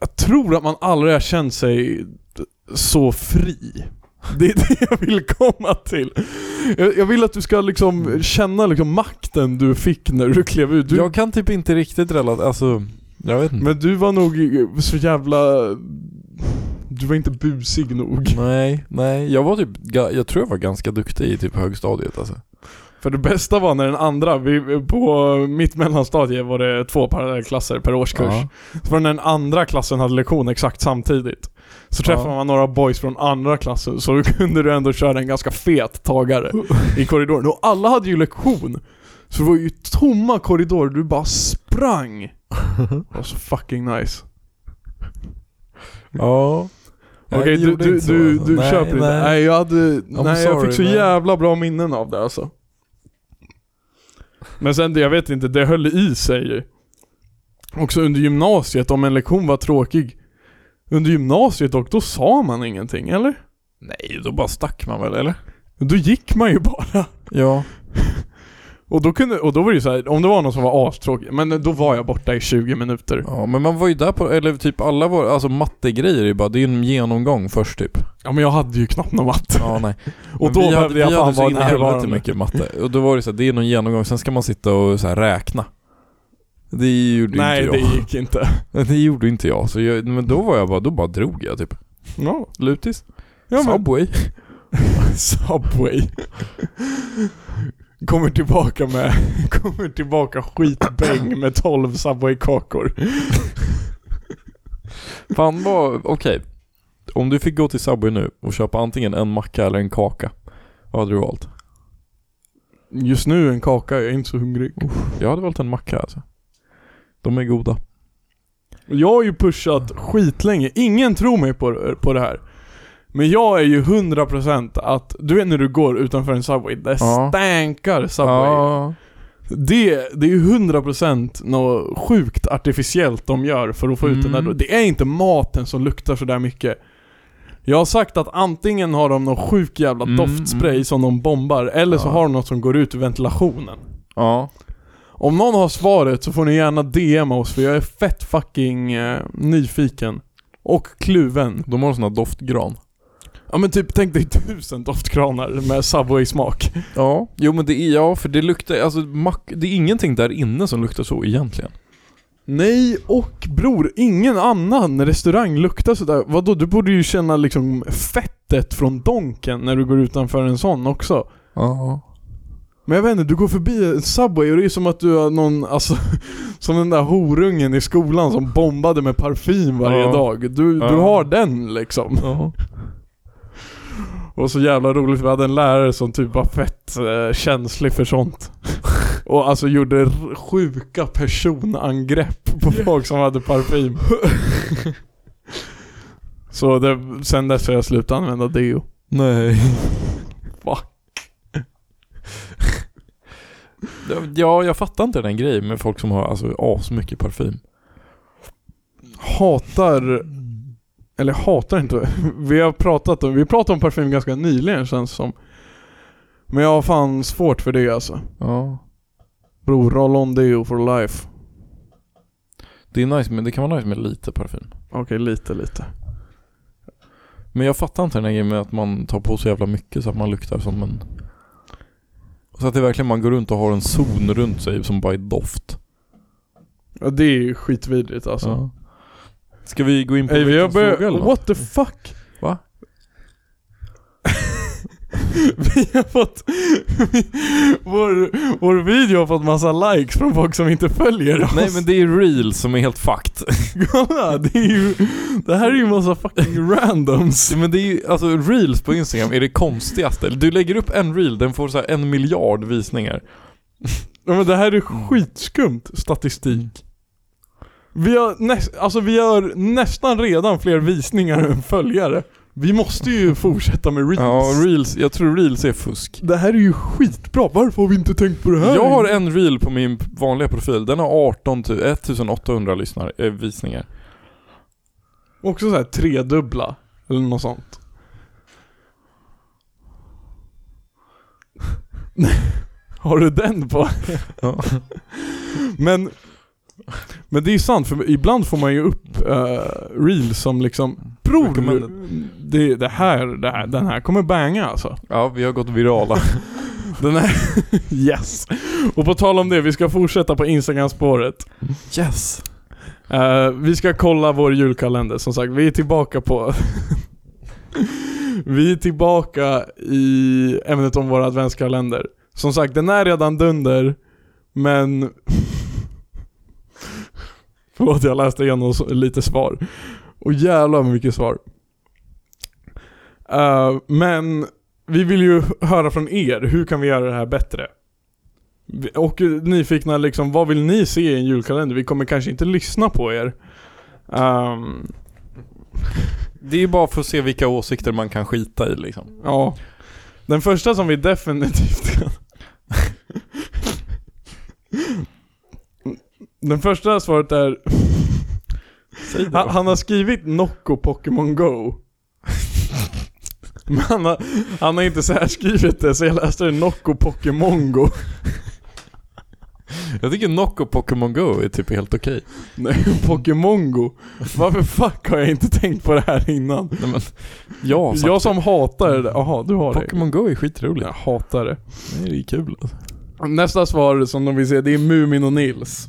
jag tror att man aldrig har känt sig så fri. Det är det jag vill komma till. Jag, jag vill att du ska liksom känna liksom makten du fick när du klev ut. Du, Jag kan typ inte riktigt relatera, alltså jag vet inte. Men du var nog så jävla... Du var inte busig nog. Nej, nej. Jag var typ, ga- jag tror jag var ganska duktig i typ högstadiet alltså. För det bästa var när den andra, vi, på mitt mellanstadie var det två parallellklasser per årskurs. Ja. Så var det när den andra klassen hade lektion exakt samtidigt. Så träffade Ja. man några boys från andra klassen, så då kunde du ändå köra en ganska fet tagare i korridoren. Och alla hade ju lektion. Så det var ju tomma korridorer, du bara sprang. Det var så fucking nice. Ja. Okej, Nej, det du, gjorde du, inte så, du, alltså. du Nej, köper inte? nej. Nej, jag, hade, nej, jag sorry, fick så men- jävla bra minnen av det alltså. Men sen, det- jag vet inte, det höll i sig ju. Också under gymnasiet, om en lektion var tråkig. Under gymnasiet dock, då sa man ingenting, eller? Nej, då bara stack man väl eller? Då gick man ju bara. Ja. Och då, kunde, och då var det ju så här, om det var någon som var astråkig, men då var jag borta i 20 minuter. Ja men man var ju där på, eller typ alla våra, alltså mattegrejer är ju bara, det är ju en genomgång först typ. Ja men jag hade ju knappt någon matte. Ja nej. Och Men då vi hade- behövde jag vi fan hade så vara in i helvete närvarande. mycket matte. Och då var det så här, det är någon genomgång, sen ska man sitta och så här räkna. Det gjorde Nej inte det jag. gick inte. Det... det gjorde inte jag. Så jag, men då var jag bara, då bara drog jag typ. Ja, Lutis. ja men Subway. Subway. Kommer tillbaka med, kommer tillbaka skitbäng med 12 Subway-kakor. Fan vad, okej. Om du fick gå till Subway nu och köpa antingen en macka eller en kaka. Vad hade du valt? Just nu en kaka, jag är inte så hungrig. Jag hade valt en macka alltså. De är goda. Jag har ju pushat skitlänge, ingen tror mig på, på det här. Men jag är ju 100% att, du vet när du går utanför en Subway, det Ja. stänkar Subway. Det, det är ju 100% något sjukt artificiellt de gör för att få ut den där. Mm. Det är inte maten som luktar sådär mycket. Jag har sagt att antingen har de någon sjuk jävla Mm, doftspray mm. som de bombar, eller så Ja. har de något som går ut ur ventilationen. Ja. Om någon har svaret så får ni gärna DMa oss för jag är fett fucking eh, nyfiken. Och kluven. De har en sån här doftgran. Ja men typ tänk dig tusen doftkranar med Subway-smak. Ja. Jo men det är, ja för det luktar, alltså mack, det är ingenting där inne som luktar så egentligen. Nej, och bror, ingen annan restaurang luktar sådär. Vadå, du borde ju känna liksom fettet från donken när du går utanför en sån också. Ja. Men jag vet inte, du går förbi en Subway och det är som att du har någon, alltså, som den där horungen i skolan som bombade med parfym varje Ja. dag. Du, du Ja. har den liksom. Ja. Och så jävla roligt, vi hade en lärare som typ var fett eh, känslig för sånt. Och alltså gjorde r- sjuka personangrepp på folk som hade parfym. Så det, sen dess har jag slutat använda deo. Nej. Fuck. Ja, jag fattar inte den grejen med folk som har alltså asmycket parfym. Hatar, eller hatar inte, vi har pratat om, vi pratade om parfym ganska nyligen känns som. Men jag har fan svårt för det alltså. Ja. Bror, roll on deo for life. Det är nice, men det kan vara nice med lite parfym. Okej, lite lite. Men jag fattar inte den här grejen med att man tar på så jävla mycket så att man luktar som en... Så att det verkligen man går runt och har en zon runt sig som bara är doft. Ja, det är ju skitvidrigt alltså. Ja. Ska vi gå in på Ey, vi har veckans börjat... fråga eller något? What the fuck? Va? vi har fått... vår, vår video har fått massa likes från folk som inte följer oss. Nej men det är reels som är helt fucked. Kolla, det är ju... Det här är ju massa fucking randoms. men det är ju, alltså reels på Instagram är det konstigaste. Du lägger upp en reel, den får så här en miljard visningar. Ja, men det här är Mm. skitskumt statistik. Vi har, näst, alltså vi har nästan redan fler visningar än följare. Vi måste ju fortsätta med reels. Ja, reels, jag tror reels är fusk. det här är ju skitbra, varför har vi inte tänkt på det här? Jag har en reel på min vanliga profil, den har 18 tu- 1800 lyssnare, eh, visningar. Också såhär tredubbla, eller något sånt. Har du den på? Ja. Men, men det är ju sant, för ibland får man ju upp eh, reels som liksom Bror! Recommended. Det, det här, det här, den här kommer banga alltså. Ja, vi har gått virala. Den här, yes! Och på tal om det, vi ska fortsätta på Instagram-spåret. Yes! Eh, vi ska kolla vår julkalender, som sagt. Vi är tillbaka på... vi är tillbaka i ämnet om vår adventskalender. Som sagt, den är redan dunder, men... Förlåt, jag läste igenom så- lite svar. Och jävlar vad mycket svar. Eh, men vi vill ju höra från er, hur kan vi göra det här bättre? Vi- Och eh, nyfikna liksom, vad vill ni se i en julkalender? Vi kommer kanske inte lyssna på er. Ehm, Det är ju bara för att se vilka åsikter man kan skita i liksom. ja. Den första som vi definitivt kan... Den första svaret är... Säg det Han, då. han har skrivit Nocco Pokémon Go. Men han har, han har inte så här skrivit det, så jag läste det Nocco Pokémon Go. Jag tycker Nocco och Pokémon Go är typ helt okej. Nej, Pokémon Go. Varför fuck har jag inte tänkt på det här innan? Nej, men, ja, Jag som hatar det. Jaha, du har det. Pokémon Go är skitroligt. Jag hatar det. Nej, det är kul alltså. Nästa svar som de vill se, det är Mumin och Nils.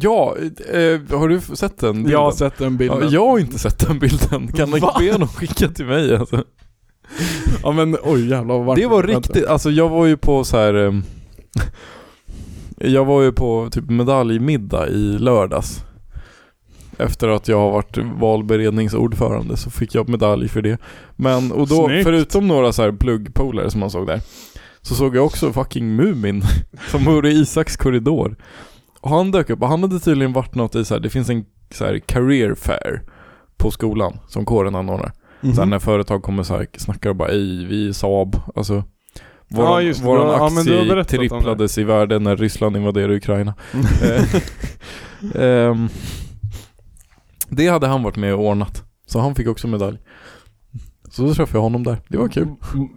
Ja, eh, har du f- sett den bilden? Jag har sett den bilden. Ja, jag har inte sett den bilden. Kan du Va? be någon skicka till mig alltså? Ja men oj jävlar vad varmt. Det var Vänta. riktigt, alltså jag var ju på så här. ehm, Jag var ju på typ medaljmiddag i lördags. Efter att jag har varit valberedningsordförande så fick jag medalj för det. Men, och då, Snyggt. förutom några så här pluggpolare som man såg där, så såg jag också fucking Mumin som vore i Isaks korridor. Och han dök upp och han hade tydligen varit något i så här, det finns en så här career fair på skolan som kåren anordnar. Mhm. Sen när företag kommer så här, snackar och bara ej, vi är Saab. Alltså, Ja, våran, just det. våran Ja, men du har aktie berättat om det. Mm. tripplades i värde när Ryssland invaderade Ukraina. Eh, ehm, det hade han varit med och ordnat. Så han fick också medalj. Så då träffade jag honom där. Det var kul. Mm.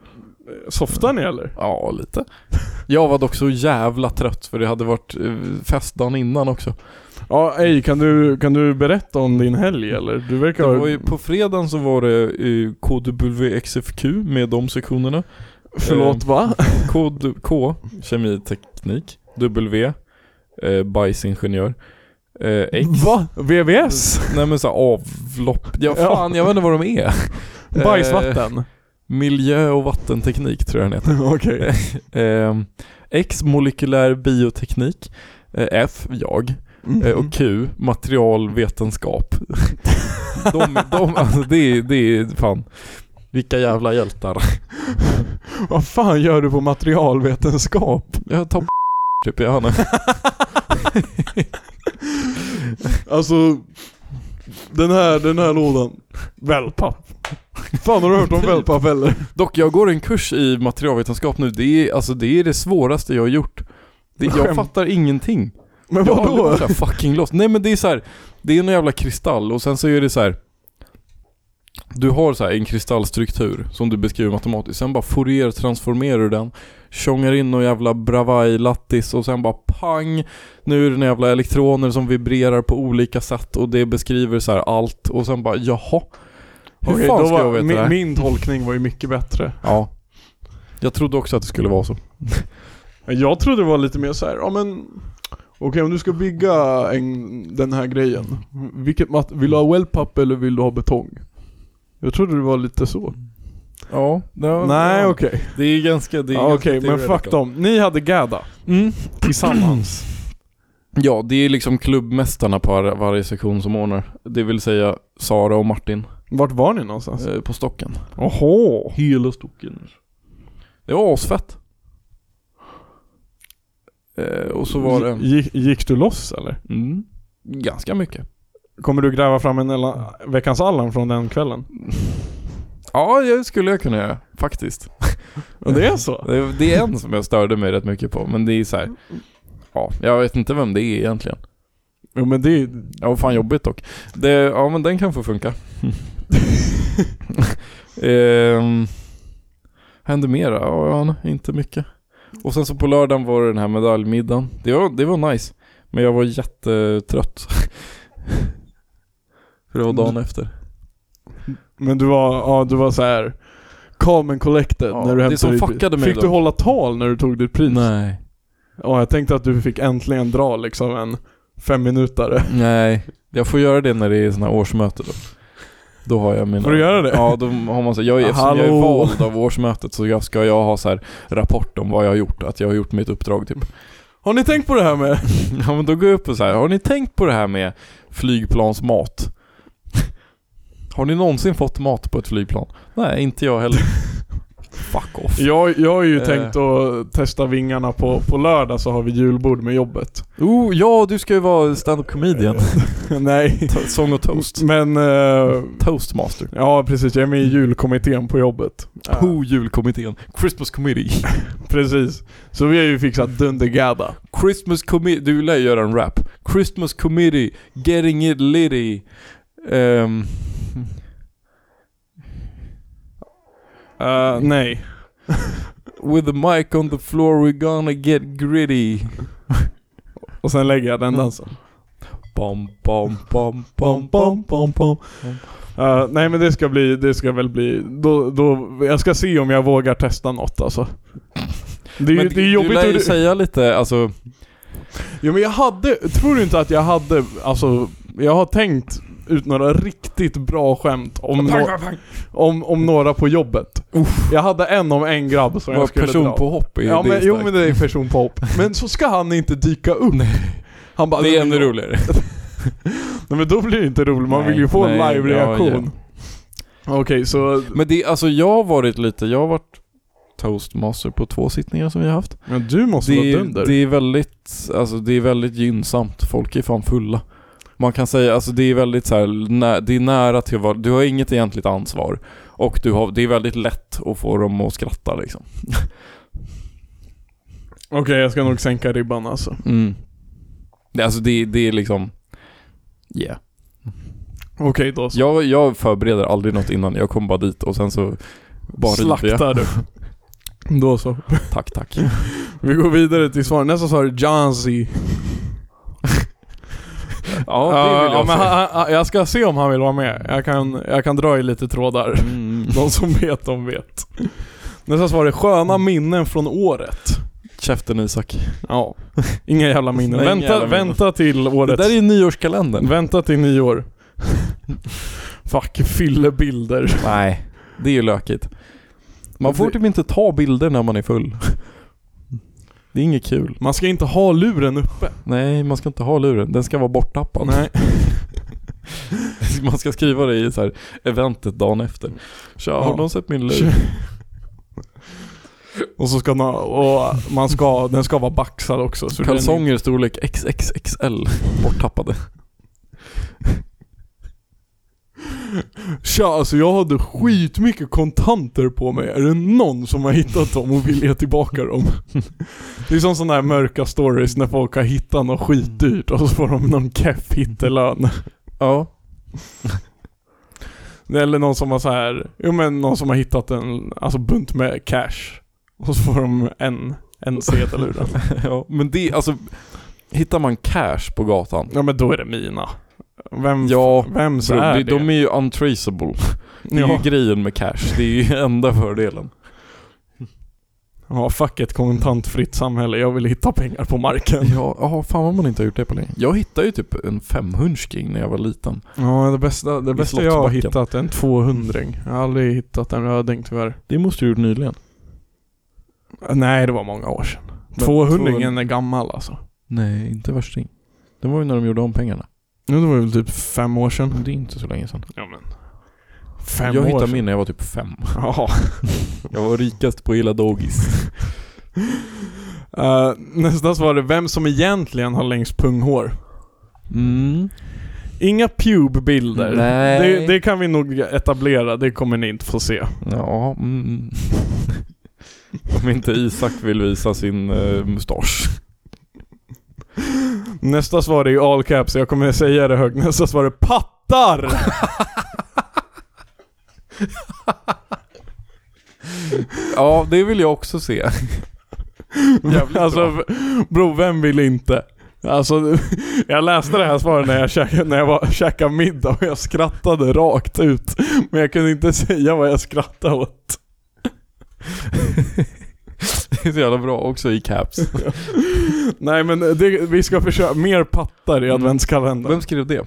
Softar ni eller? Ja, lite. Jag var dock så jävla trött för det hade varit eh, festdagen innan också. Ja, ej, kan du, kan du berätta om din helg eller? Du verkar Det var ha... ju, på fredagen så var det eh, KWXFQ med de sektionerna. Förlåt eh, va? K, du- K kemi, teknik. W, eh, bajsingenjör. Eh, X, Va? VVS? nej men så här avlopp. Ja fan, jag vet inte vad de är. Eh, Eh, Bajsvatten? Miljö och vattenteknik tror jag den heter. Okej. Eh, X, molekylär bioteknik. Eh, F, jag. Eh, Mm. och Q, materialvetenskap. de, de, alltså det, är- det är fan. Vilka jävla hjältar. Vad fan gör du på materialvetenskap? Jag tar typ, jag har Alltså, den här, den här lådan. Wellpapp. Fan har du hört om wellpapp eller? Dock, jag går en kurs i materialvetenskap nu. Det är, alltså, det, är det svåraste jag har gjort. Det, jag Skämt. fattar ingenting. Men Jag har aldrig vadå? varit så här fucking lost. Nej men det är så här. det är en jävla kristall och sen så är det så här. Du har så här en kristallstruktur som du beskriver matematiskt, sen bara Fourier transformerar du den, tjongar in någon jävla Bravais-lattis och sen bara pang! Nu är det några jävla elektroner som vibrerar på olika sätt och det beskriver så här allt och sen bara jaha? Hur Okej, fan då ska var, jag veta det min, här? min tolkning var ju mycket bättre. Ja. Jag trodde också att det skulle vara så. Jag trodde det var lite mer så här, ja men Okej om du ska bygga en, den här grejen, vilket mat, vill du ha wellpapp eller vill du ha betong? Jag trodde det var lite så. Ja, Nej okej. Det är ganska... Det är Ja, okej men fuck dem. Ni hade Gada Mm. tillsammans. Ja, det är liksom klubbmästarna på var- varje sektion som ordnar. Det vill säga Sara och Martin Vart var ni någonstans? eh, på stocken. Jaha. Hela stocken. Det var asfett. Eh, och så var det... Gick, gick du loss eller? Mm, ganska mycket. Kommer du gräva fram en Ella, veckans Allan från den kvällen? Ja, det skulle jag kunna göra. Faktiskt. Och det är så? Det, det är en som jag störde mig rätt mycket på, men det är så här. Ja, jag vet inte vem det är egentligen. Jo men det är... Ja, vad fan jobbigt dock. Det, ja, men den kan få funka. ehm, hände mera? Ja, ja, inte mycket. Och sen så på lördagen var det den här medaljmiddagen. Det var, det var nice. Men jag var jättetrött. Mm. För det var dagen efter. Men du var, ja du var så här calm and collected Ja, när du det hämtade som ditt pris. fuckade mig Fick då. du hålla tal när du tog ditt pris? Nej. Ja, jag tänkte att du fick äntligen dra liksom en femminutare. Nej. Jag får göra det när det är såna här årsmöten då. Då har jag mina... Får du göra det? Ja, då har man så här, jag, är- eftersom jag är Hallå. vald av årsmötet så jag ska jag ha så här rapport om vad jag har gjort, att jag har gjort mitt uppdrag typ. Har ni tänkt på det här med? Ja men då går jag upp och så här, har ni tänkt på det här med flygplansmat? Har ni någonsin fått mat på ett flygplan? Nej, inte jag heller. Fuck off. Jag, jag har ju Eh. tänkt att testa vingarna på, på lördag så har vi julbord med jobbet. Eh, Oh, ja, du ska ju vara stand-up comedian. Nej. Ta- Sång och toast. Men, eh, Toastmaster. ja precis, jag är med i julkommittén på jobbet. Po julkommittén. Christmas committee. Precis. Så vi har ju fixat dundergadda. Christmas committee. Du lär ju göra en rap. Christmas committee. Getting it litty. Ehm, Eh, nej. With the mic on the floor we're gonna get gritty. Och sen lägger jag den dansen. Bom, bom, bom, bom, Pom, pom, bom. pom, pom. Eh, nej men det ska bli, det ska väl bli, då, då, jag ska se om jag vågar testa något alltså. Det är, ju, Men det är jobbigt du lär hur ju det- säga lite, alltså, Ja men jag hade, tror du inte att jag hade, alltså jag har tänkt ut några riktigt bra skämt om, nå- om, om några på jobbet. Jag hade en om en grabb som jag vad skulle dra. personpåhopp är ja, det men, är jo starkt. men det är personpåhopp. Men så ska han inte dyka upp. Han bara, Det är nej, ännu men- roligare. Nej men då blir det inte roligt, man Nej, vill ju få en nej, live-reaktion. Okej så, Men det, alltså jag har varit lite, jag har varit toastmaster på två sittningar som vi har haft. men du måste Det vara är, dunder. det är väldigt, alltså det är väldigt gynnsamt. Folk är fan fulla. Man kan säga, alltså det är väldigt så här, nä, det är nära till vad, du har inget egentligt ansvar. Och du har, det är väldigt lätt att få dem att skratta liksom. Okej jag ska nog sänka ribban alltså. Mm. Det, alltså det, det är liksom, yeah. Okej då så. Jag, jag förbereder aldrig något innan, jag kommer bara dit och sen så bara river jag. Slaktar du. Då så. Tack, tack. Vi går vidare till svar. Nästa svar är Janzi. Ja, det Ja, vill ja, jag men säga. han, han, jag ska se om han vill vara med. Jag kan, jag kan dra i lite trådar. Mm. De som vet, de vet. Nästa svar är sköna minnen från året. Käften Isak. Ja. Inga jävla minnen. Nej, inga vänta, jävla minnen. vänta till Det året. där är nyårskalendern. Vänta till nyår. Fuck, fyllebilder. Nej. Det är ju lökigt. Man får Det- typ inte ta bilder när man är full. Det är inget kul. Man ska inte ha luren uppe. Nej, man ska inte ha luren. Den ska vara borttappad. Nej. Man ska skriva det i så här eventet dagen efter. Tja, har någon sett min lur? Och så ska man, och man ska, den ska vara baxad också. Så den- Kalsonger storlek XXXL borttappade. Tja, alltså jag hade skitmycket kontanter på mig. Är det någon som har hittat dem och vill ge tillbaka dem? Det är som sådana här mörka stories när folk har hittat något skitdyrt och så får de någon keff hittelön. Ja. Eller någon som har så här, jo men någon som har hittat en alltså bunt med cash. Och så får de en, en sedel ur den. ja. Men det, alltså. Hittar man cash på gatan? Ja men då är det mina. Vem, Ja. vem så Bro, är de, det? de är ju untraceable. Det är ja. ju grejen med cash. Det är ju enda fördelen. ja, fuck ett kontantfritt samhälle. Jag vill hitta pengar på marken. Ja, aha, fan vad man inte har gjort det på länge. Jag hittade ju typ en femhundsking när jag var liten. Ja, det bästa, det I bästa jag har Slottsbacken. hittat är en 200 Jag har aldrig hittat en röding tyvärr. Det måste du gjort nyligen. Nej, det var många år sedan. Men 200 är gammal alltså. Nej, inte värsting. Det var ju när de gjorde om pengarna. Nu det var väl typ fem år sedan. Det är inte så länge sedan. Ja, men. Fem jag år hittade sedan. min när jag var typ fem. Ja. Jag var rikast på hela dagis. Eh, nästa svar är vem som egentligen har längst punghår. Mm. Inga pubbilder. Nej. Det, det kan vi nog etablera, det kommer ni inte få se. Ja, mm. Om inte Isak vill visa sin eh, mustasch. Nästa svar är ju all caps, jag kommer säga det högt. Nästa svar är pattar! Ja, det vill jag också se. Jävligt alltså, bra. v- bro, vem vill inte? Alltså, jag läste det här svaret när jag käkade, när jag var, käkade middag och jag skrattade rakt ut. Men jag kunde inte säga vad jag skrattade åt. Det är så jävla bra också i caps. Nej men det, vi ska försöka, mer pattar i Mm. adventskalendern. Vem skrev det?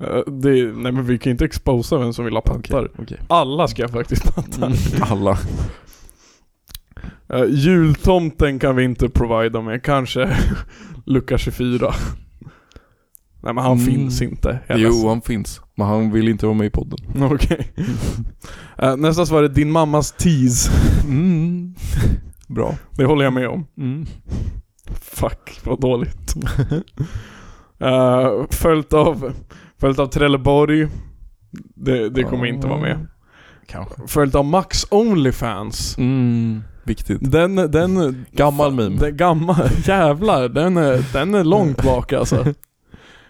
Eh, Det, nej men vi kan ju inte exposa vem som vill ha pattar. Okej. Alla ska faktiskt pattar. Mm. Alla. Eh, jultomten kan vi inte provida med, kanske lucka 24. Nej men han Mm. finns inte. Jag är Jo, han finns. Men han vill inte vara med i podden. Okej. Eh, nästa svar är din mammas tease. Mm. Bra. Det håller jag med om. Mm. Fuck, vad dåligt. Eh, följt av, följt av Trelleborg. Det, det kommer inte vara med. Kanske. Följt av Max Onlyfans. Mm. Viktigt. Den, den... Gammal meme. Den gammal, jävlar. Den är, den är långt bak alltså.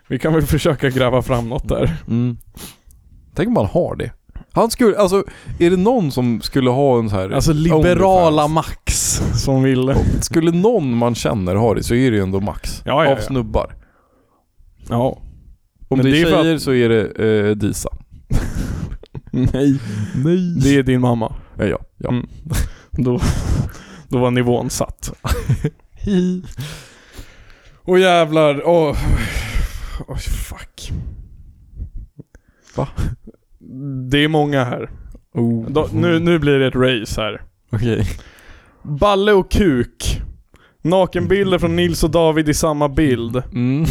Vi kan väl försöka gräva fram något där. Mm. Tänk om man har det. Han skulle, alltså är det någon som skulle ha en så här... Alltså liberala Onlyfans. Oh. Max som vill... Skulle någon man känner ha det så är det ju ändå Max. Ja, ja, Av ja. snubbar. Ja. Om Men det är det är för att- tjejer så är det eh, Disa. Nej. Nej. Det är din mamma. Ja, Eh, ja. ja. Mm. Då, då var nivån satt. Och jävlar. Åh, Åh, fuck. Va? Det är många här. Oh. Då, nu, nu blir det ett race här. Okej. Balle och kuk. Nakenbilder från Nils och David i samma bild. Mm.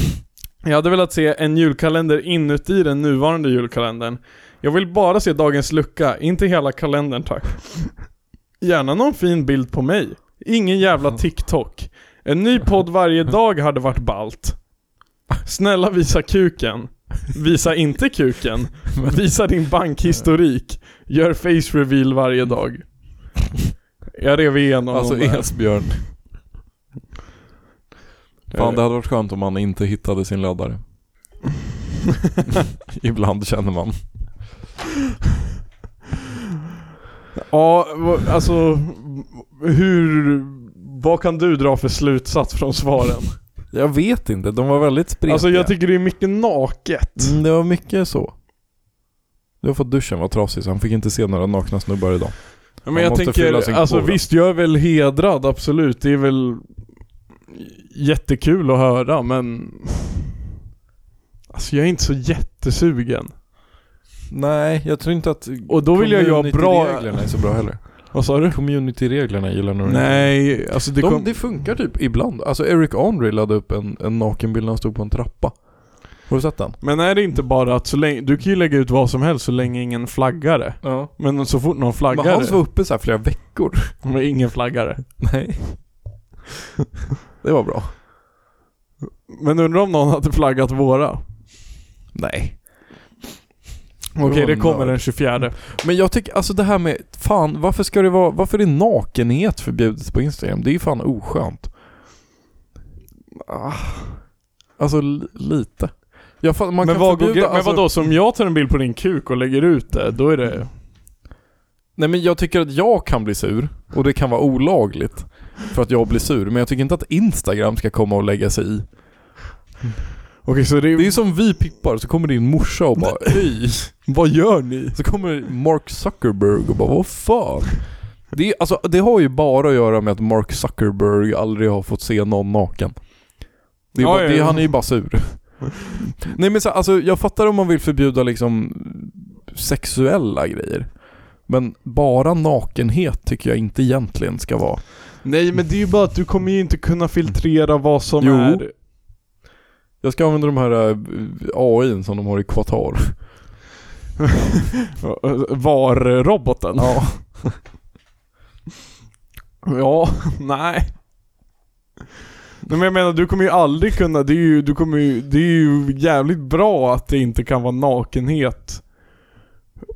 Jag hade velat se en julkalender inuti den nuvarande julkalendern. Jag vill bara se dagens lucka, inte hela kalendern tack. Gärna någon fin bild på mig. Ingen jävla TikTok. En ny podd varje dag hade varit balt. Snälla visa kuken. Visa inte kuken. Visa din bankhistorik. Gör face reveal varje dag. Jag rev igenom Alltså de där. Esbjörn. Fan det hade varit skönt om man inte hittade sin laddare. Ibland känner man. Ja, vad- alltså hur... Vad kan du dra för slutsats från svaren? Jag vet inte, de var väldigt spretiga. Alltså jag tycker det är mycket naket. Mm, det var mycket så. Det var för att duschen var trasig så han fick inte se några nakna snubbar idag. Men Man jag måste fylla tänker, sin alltså kvot. visst jag är väl hedrad, absolut. Det är väl jättekul att höra men... Alltså jag är inte så jättesugen. Nej, jag tror inte att Och då vill jag göra bra... community-reglerna är så bra heller. Vad sa du? Community-reglerna gillar nog inte. Nej, alltså det De, kom... Det funkar typ ibland. Alltså Eric Andre laddade upp en, en nakenbild när han stod på en trappa. Har du sett den? Men är det inte bara att så länge... Du kan ju lägga ut vad som helst så länge ingen flaggar det. Ja. Men så fort någon flaggar Men hans det- var uppe så här flera veckor. Men ingen flaggare. Nej. det var bra. Men undrar om någon hade flaggat våra? Nej. Okej, det kommer den 24. Men jag tycker, alltså det här med, fan varför ska det vara, varför är nakenhet förbjudet på Instagram? Det är ju fan oskönt. Ah. Alltså li- lite. Jag fan, man men, kan vad går, förbjuda, grä- men alltså- vadå, så om jag tar en bild på din kuk och lägger ut det, då är det... Nej men jag tycker att jag kan bli sur och det kan vara olagligt för att jag blir sur. Men jag tycker inte att Instagram ska komma och lägga sig i. Okej, så det är, Det är ju som vi pippar, så kommer din morsa och bara Hej! Vad gör ni? Så kommer Mark Zuckerberg och bara Vad fan? Det, är, alltså, det har ju bara att göra med att Mark Zuckerberg aldrig har fått se någon naken. Det är Ja, bara, ja, det, ja. han är ju bara sur. Nej men så, alltså, jag fattar om man vill förbjuda liksom sexuella grejer. Men bara nakenhet tycker jag inte egentligen ska vara. Nej, men det är ju bara att du kommer ju inte kunna filtrera vad som Jo. är... Jag ska använda de här eh, AI som de har i Qatar. Var-roboten. Ja. Ja, nej. Nej, men jag menar, du kommer ju aldrig kunna... Det är ju, du kommer ju, det är ju jävligt bra att det inte kan vara nakenhet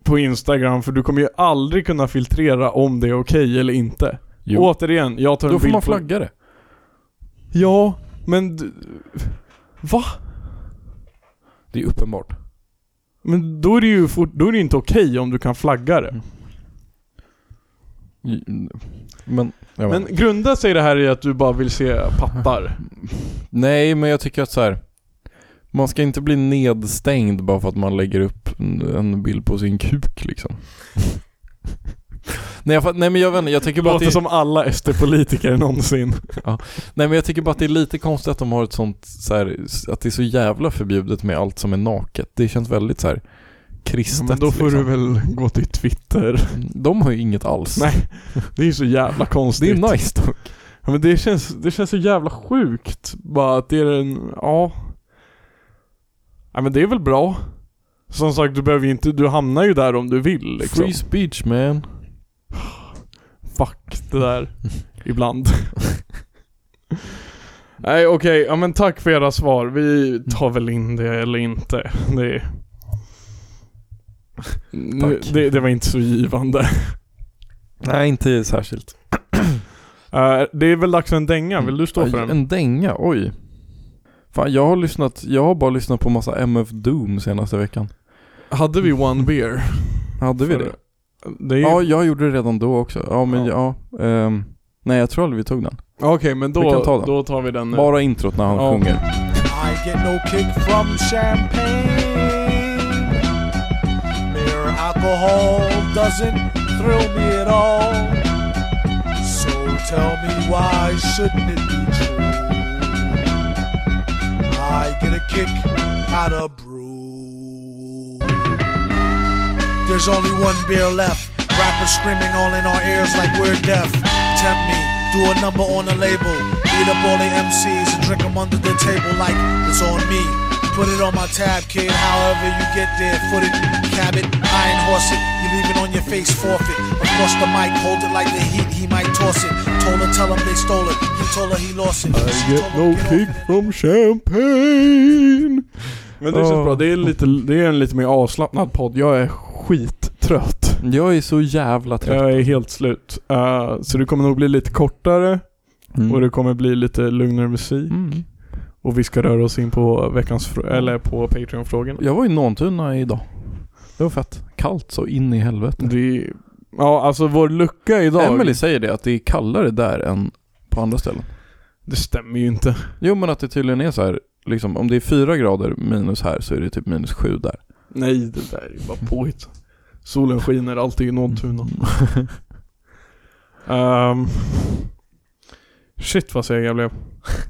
på Instagram, för du kommer ju aldrig kunna filtrera om det är okej eller inte. Jo. Återigen, jag tar en Då får bild man på- flagga det. Ja, men... du- Va? Det är uppenbart. Men då är det ju fort, då är det ju inte okej om du kan flagga det. Men, jag Men vet. grundar sig det här i att du bara vill se pattar? Nej, men jag tycker att så här. Man ska inte bli nedstängd bara för att man lägger upp en- en bild på sin kuk liksom. nej, jag, fatt- nej men jag vet inte, jag tycker Det bara att låter det, som alla SD-politiker någonsin. nej, men jag tycker bara att det är lite konstigt att de har ett sånt så här, att det är så jävla förbjudet med allt som är naket. Det känns väldigt så här kristet men då får liksom. Mm, du väl gå till Twitter. De har ju inget alls. Nej. Det är ju så jävla Det konstigt. är nice dock. ja, men det, känns, det känns så jävla sjukt. Bara att det är en, ja. Ja men det är väl bra. Som sagt, du behöver ju inte, du hamnar ju där om du vill liksom. Free speech man. Fuck det där. Ibland. Nej okej, ja men tack för era svar. Vi tar väl in det eller inte. Det, är- Tack. det, det var inte så givande. Nej, inte särskilt. Eh, det är väl dags för en dänga, vill du stå för den? En dänga, oj. Fan, jag har lyssnat, jag har bara lyssnat på massa MF Doom senaste veckan. Hade vi One Beer? Hade vi För- det? det är ju... Ja, jag gjorde det redan då också. Ja, men ja. Ja. ehm, nej, jag tror aldrig vi tog den. Okej, men då, Vi kan ta den. då tar vi den nu. Bara introt när han Ja. sjunger. I get no kick from champagne. Mere alcohol doesn't thrill me at all. So tell me why shouldn't it be true? I get a kick out of brew. There's only one beer left. Rappers screaming all in our ears like we're deaf. Tempt me, do a number on the label. Beat up all the MCs and drink 'em under the table like it's on me. Put it on my tab, kid. However you get there, foot it, cab it, iron horse it. You leave it on your face, forfeit. Across the mic, hold it like the heat, he might toss it. Told her, tell him they stole it. He told her he lost it. I She get told him, no "Get off kick it." from champagne. Men det Ja. känns bra. Det är, lite, det är en lite mer avslappnad podd. Jag är skittrött. Jag är så jävla trött. Jag är helt slut. Eh, så det kommer nog bli lite kortare och det kommer bli lite lugnare musik. Mm. Och vi ska röra oss in på veckans frå- eller på Patreon-frågorna. Jag var i Nåntuna idag. Det var fett. Kallt så in i helvete. Det är, ja, alltså vår lucka idag. Emily säger det, att det är kallare där än på andra ställen. Det stämmer ju inte. Jo men att det tydligen är så här, liksom om det är fyra grader minus här så är det typ minus sju där. Nej, det där är ju bara påhitt. Solen skiner alltid i Nåntuna. Mm. Ehm, shit vad seg jag blev.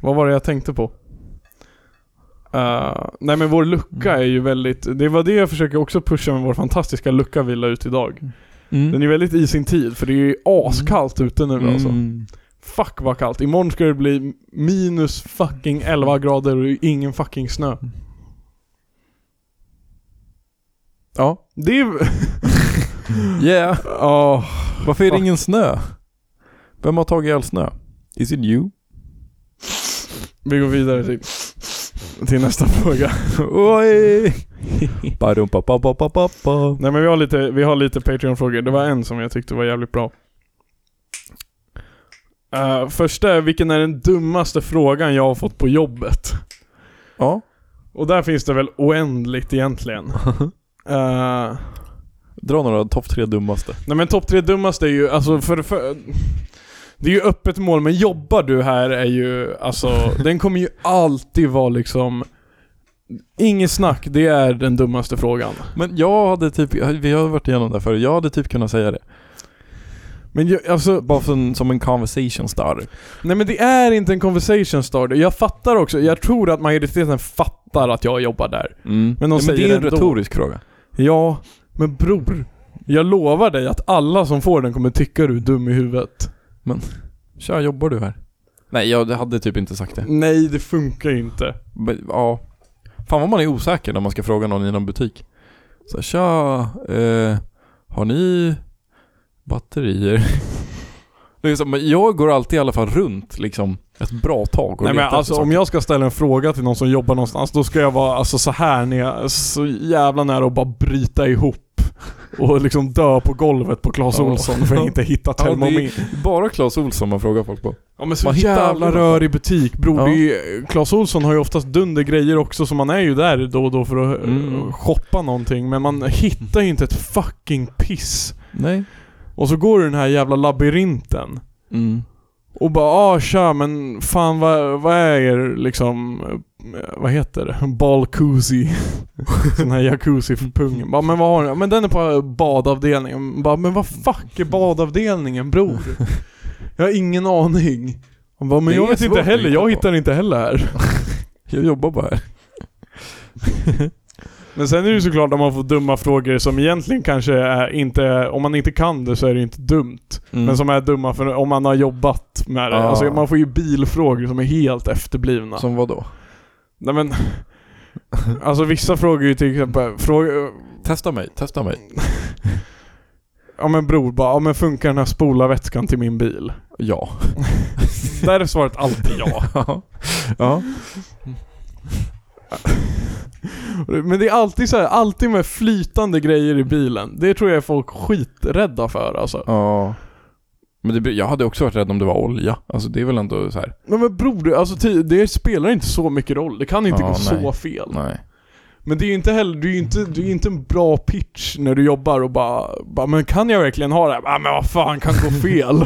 Vad var det jag tänkte på? Eh, nej men vår lucka är ju väldigt, det var det jag försöker också pusha med vår fantastiska lucka vi la ut idag. Mm. Den är väldigt i sin tid för det är ju askallt ute nu alltså. Mm. Fuck vad kallt. Imorgon ska det bli minus fucking 11 grader och ingen fucking snö. Mm. Ja. Det är... Yeah. Ja. Varför är det Fuck. ingen snö? Vem har tagit all snö? Is it you? Vi går vidare till, till nästa fråga. Oj! Badumpapapapapa. Nej men vi har lite, vi har lite Patreon-frågor. Det var en som jag tyckte var jävligt bra. Eh, första är, vilken är den dummaste frågan jag har fått på jobbet? Ja. Och där finns det väl oändligt egentligen. Eh, Dra några topp tre dummaste. nej men topp tre dummaste är ju, alltså för, för Det är ju öppet mål, men jobbar du här är ju, alltså den kommer ju alltid vara liksom Inget snack, det är den dummaste frågan. Men jag hade typ, vi har varit igenom det här förut, jag hade typ kunnat säga det. Men jag, alltså, Bara som, som en conversation starter. Nej men det är inte en conversation starter. Jag fattar också, jag tror att majoriteten fattar att jag jobbar där. Mm. Men de ja, men det säger är en det ändå. retorisk fråga. Ja, men bror. Jag lovar dig att alla som får den kommer tycka du är dum i huvudet. Tja, jobbar du här? Nej, jag hade typ inte sagt det. Nej, det funkar ju inte. Men, Ja. Fan vad man är osäker när man ska fråga någon i någon butik. Så här, tja, eh, har ni batterier? Det är som, men jag går alltid i alla fall runt liksom ett bra tag och Nej letar men efter alltså om saker. jag ska ställa en fråga till någon som jobbar någonstans, då ska jag vara alltså så här ner, så jävla nära och bara bryta ihop. Och liksom dö på golvet på Clas Ja. Olsson för att jag inte hittar Ja, det är- termometern. Bara Clas Ohlson man frågar folk på. Ja men så Man hittar jävla aldrig rör i butik bror. Ja. Det är ju, Clas Ohlson har ju oftast dunder grejer också så man är ju där då och då för att eh, Mm. shoppa någonting. Men man hittar ju inte ett fucking piss. Nej. Och så går du den här jävla labyrinten. Mm. Och bara ah tja men fan vad, vad är er liksom, eh, vad heter det? Balkusi. Sån här jacuzzi för pungen. Bara, men vad har ni? Men den är på badavdelningen. Bara, men vad fuck är badavdelningen bror? Jag har ingen aning. Han Bara, men Det jag är vet svårt inte att heller, hitta på. jag hittar inte heller här. Jag jobbar bara här. Men sen är det ju såklart om man får dumma frågor som egentligen kanske är inte, om man inte kan det så är det ju inte dumt. Mm. Men som är dumma för om man har jobbat med det. Ja. Alltså man får ju bilfrågor som är helt efterblivna. Som vadå? Nej men... Alltså vissa frågor är ju till exempel, fråga, Testa mig, testa mig. ja men bror bara, ja men funkar den här spolarvätskan till min bil? Ja. Där är svaret alltid ja. ja. Men det är alltid så här, alltid med flytande grejer i bilen. Det tror jag är folk skiträdda för alltså. Ja. Men det, blir- jag hade också varit rädd om det var olja. Alltså det är väl ändå så här. Men, men bror, det- alltså, ty- det spelar inte så mycket roll. Det kan inte Ja, gå nej. så fel. Nej. Men det är ju inte heller, du är ju inte, du är ju inte en bra pitch när du jobbar och bara, bara men kan jag verkligen ha det här? Ah, men vad fan kan gå fel?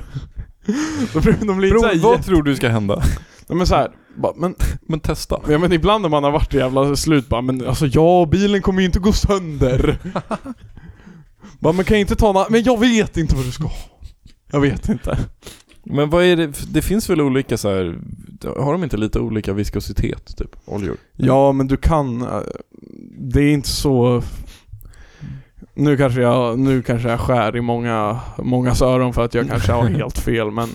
Då blir de lite Bro, såhär, vad tror du ska hända? nej men såhär, bara, men, Men testa. ja, men ibland när man har varit i jävla slut bara, men alltså ja, bilen kommer ju inte gå sönder. bara, men kan jag inte ta några, men jag vet inte vad du ska ha. Jag vet inte. Men vad är det, det finns väl olika så här. har de inte lite olika viskositet typ, oljor? Ja, men du kan... eh, Det är inte så... Nu kanske jag, nu kanske jag skär i många, många öron för att jag kanske har helt fel, men...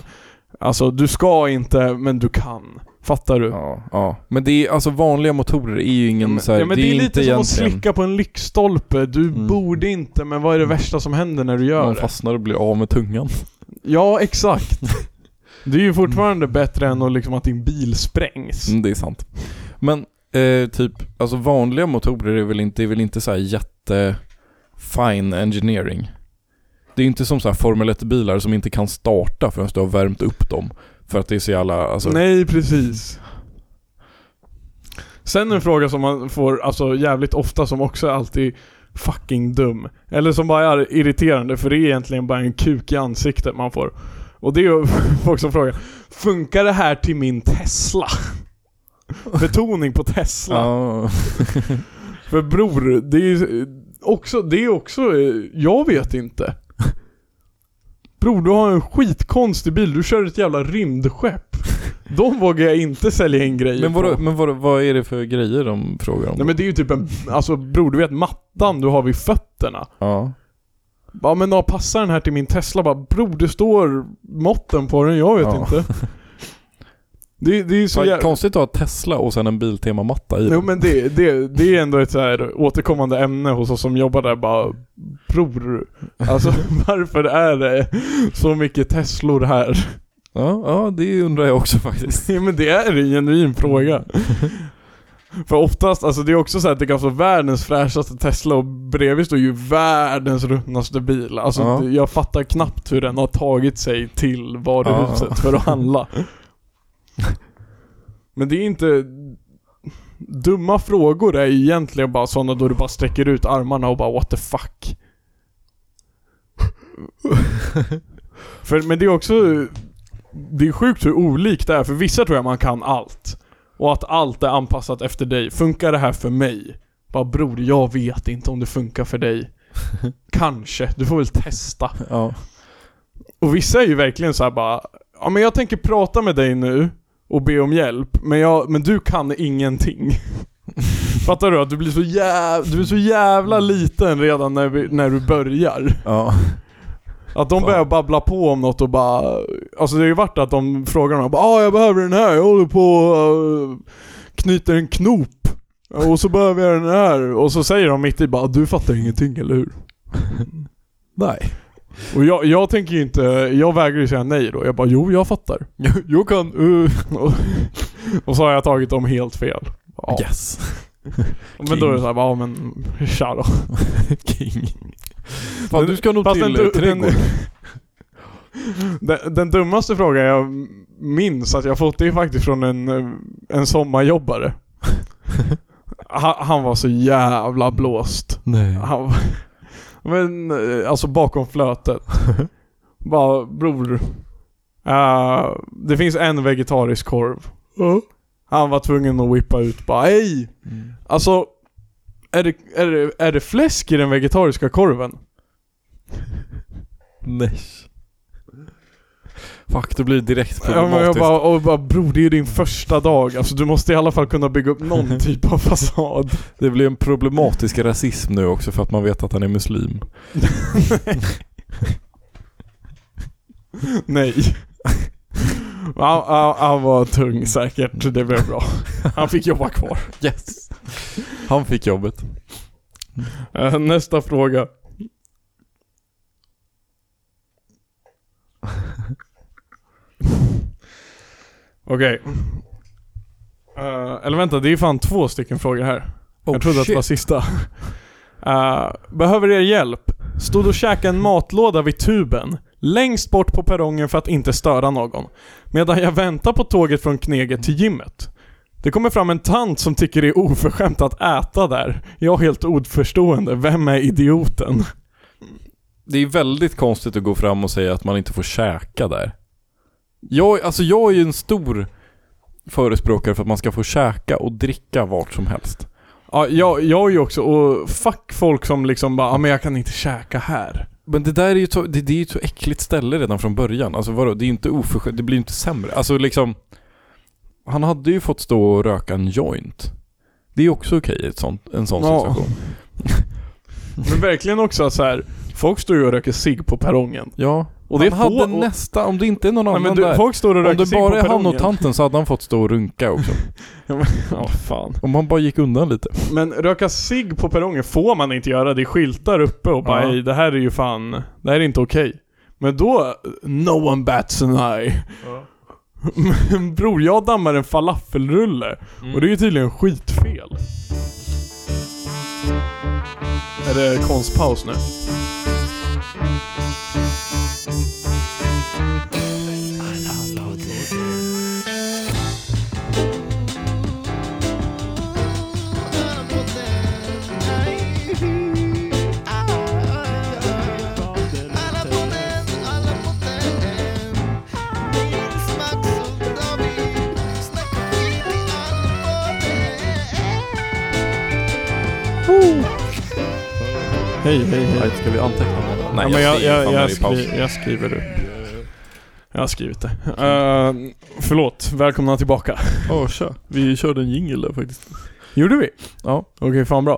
Alltså, du ska inte, men du kan. Fattar du? Ja, ja. Men det är, alltså vanliga motorer är ju ingen så här, ja, men det, är, inte lite som att egentligen- slicka på en lyktstolpe. Du Mm. borde inte, men vad är det värsta som händer när du gör Man det? Mm. fastnar och blir av med tungan. Ja, exakt. Det är ju fortfarande bättre än att, liksom, att din bil sprängs. Mm, det är sant. Men eh, typ, alltså vanliga motorer är väl inte, är väl inte så här jätte fine engineering. Det är inte som så här Formel 1-bilar som inte kan starta förrän du har värmt upp dem. För att det är så jävla, alltså, Nej, precis. Sen en fråga som man får alltså, jävligt ofta som också är alltid fucking dum. Eller som bara är irriterande för det är egentligen bara en kuk i ansiktet man får. Och det är ju folk som frågar Funkar det här till min Tesla? Betoning på Tesla. ja, För bror, det är ju eh, också, det är också, eh, jag vet inte. Bror, du har en skitkonstig bil, du kör ett jävla rymdskepp. De vågar jag inte sälja in grejer Men, på. vad, men vad, vad är det för grejer de frågar om? Nej men det är ju typ en, alltså bror du vet mattan du har vid fötterna. Ja. Ja men ja, passar den här till min Tesla? Bara, bror det står måtten på den, jag vet Ja. inte. Det, det är ju så Fan, jävla... Konstigt att ha Tesla och sen en Biltema-matta i Jo den. men det, det, det är ändå ett så här återkommande ämne hos oss som jobbar där bara Bror, alltså varför är det så mycket Teslor här? Ja, ja, det undrar jag också faktiskt. Ja, men det är en genuin fråga. För oftast, alltså det är också så här att det kan stå världens fräschaste Tesla och bredvid står ju världens ruttnaste bil. Alltså Ja. det- jag fattar knappt hur den har tagit sig till varuhuset Ja. för att handla. Men det är inte... Dumma frågor är ju egentligen bara sådana då du bara sträcker ut armarna och bara what the fuck. För, men det är också det är sjukt hur olikt det är, för vissa tror jag man kan allt. Och att allt är anpassat efter dig. Funkar det här för mig? Bara bror, jag vet inte om det funkar för dig. Kanske, du får väl testa. Ja. Och vissa är ju verkligen så här bara, ja men jag tänker prata med dig nu och be om hjälp, men, jag, men du kan ingenting. Fattar du? Att du blir så jävla, du är så jävla liten redan när, vi, när du börjar. Ja. Att de Fan. börjar babbla på om något och bara... Alltså det har ju varit att de frågar någon bara ah, jag behöver den här, jag håller på eh, knyter en knop. Och så behöver jag den här. Och så säger de mitt i bara du fattar ingenting eller hur? Nej. Och jag, jag tänker ju inte, jag vägrar ju säga nej då. Jag bara jo jag fattar. Jag kan... uh. och, och så har jag tagit dem helt fel. Ja. Yes. Men då är det såhär bara ja men tja då. King. Fan, du ska nog Fast till den- eh, trädgården. Den, den dummaste frågan jag minns att jag fått det är faktiskt från en, eh, en sommarjobbare. Han, han var så jävla blåst. Nej. Han, men eh, alltså bakom flötet. Bara bror. eh, det finns en vegetarisk korv. Han var tvungen att whippa ut bara hej! Mm. Alltså, är det, är, det, är det fläsk i den vegetariska korven? Nej. Fuck, det blir direkt Ja, men jag problematiskt. bara, och bara bror det är ju din första dag, alltså du måste i alla fall kunna bygga upp någon typ av fasad. Det blir en problematisk rasism nu också för att man vet att han är muslim. Nej. Han, han, han var tung säkert, det blev bra. Han fick jobba kvar. Yes. Han fick jobbet. Eh, Nästa fråga. Okej. Eh, eller vänta, det är fan två stycken frågor här. Oh, jag trodde att det var sista. Eh, behöver er hjälp? Stod och käkade en matlåda vid tuben, längst bort på perrongen för att inte störa någon. Medan jag väntar på tåget från Kneget till gymmet. Det kommer fram en tant som tycker det är oförskämt att äta där. Jag är helt oförstående. Vem är idioten? Det är väldigt konstigt att gå fram och säga att man inte får käka där. Jag, alltså jag är ju en stor förespråkare för att man ska få käka och dricka vart som helst. Ja, jag, jag är ju också, och fuck folk som liksom bara, ah, men jag kan inte käka här. Men det där är ju så, det, det är ju ett så äckligt ställe redan från början. Alltså vadå, det är ju inte oförskämt, det blir ju inte sämre. Alltså liksom, han hade ju fått stå och röka en joint. Det är ju också okej i ett sånt, en sån Ja. situation. Men verkligen också så här. folk står ju och röker cigg på perrongen. Ja. Och Och det det är han få- hade och- nästa, om det inte är någon Nej, annan men du, där. folk står och Om röker det cigg på bara är perrongen. han och tanten så hade han fått stå och runka också. Ja, fan. Om han bara gick undan lite. Men röka cigg på perrongen får man inte göra. Det är skyltar uppe och bara Ja. "Ey, det här är ju fan, det här är inte okej. Men då, no one bats an eye. Men bror, jag dammar en falafelrulle. Och det är ju tydligen skitfel. Är det konstpaus nu? Hej, hej, hej. Nej, ska vi anteckna det? Nej, ja, men jag, säger jag, fan jag, när det är paus. skri, jag skriver upp. Jag har skrivit det. Uh, förlåt, välkomna tillbaka. Ja, tja. Vi körde en jingle där faktiskt. Gjorde vi? Ja. Okej, fan bra.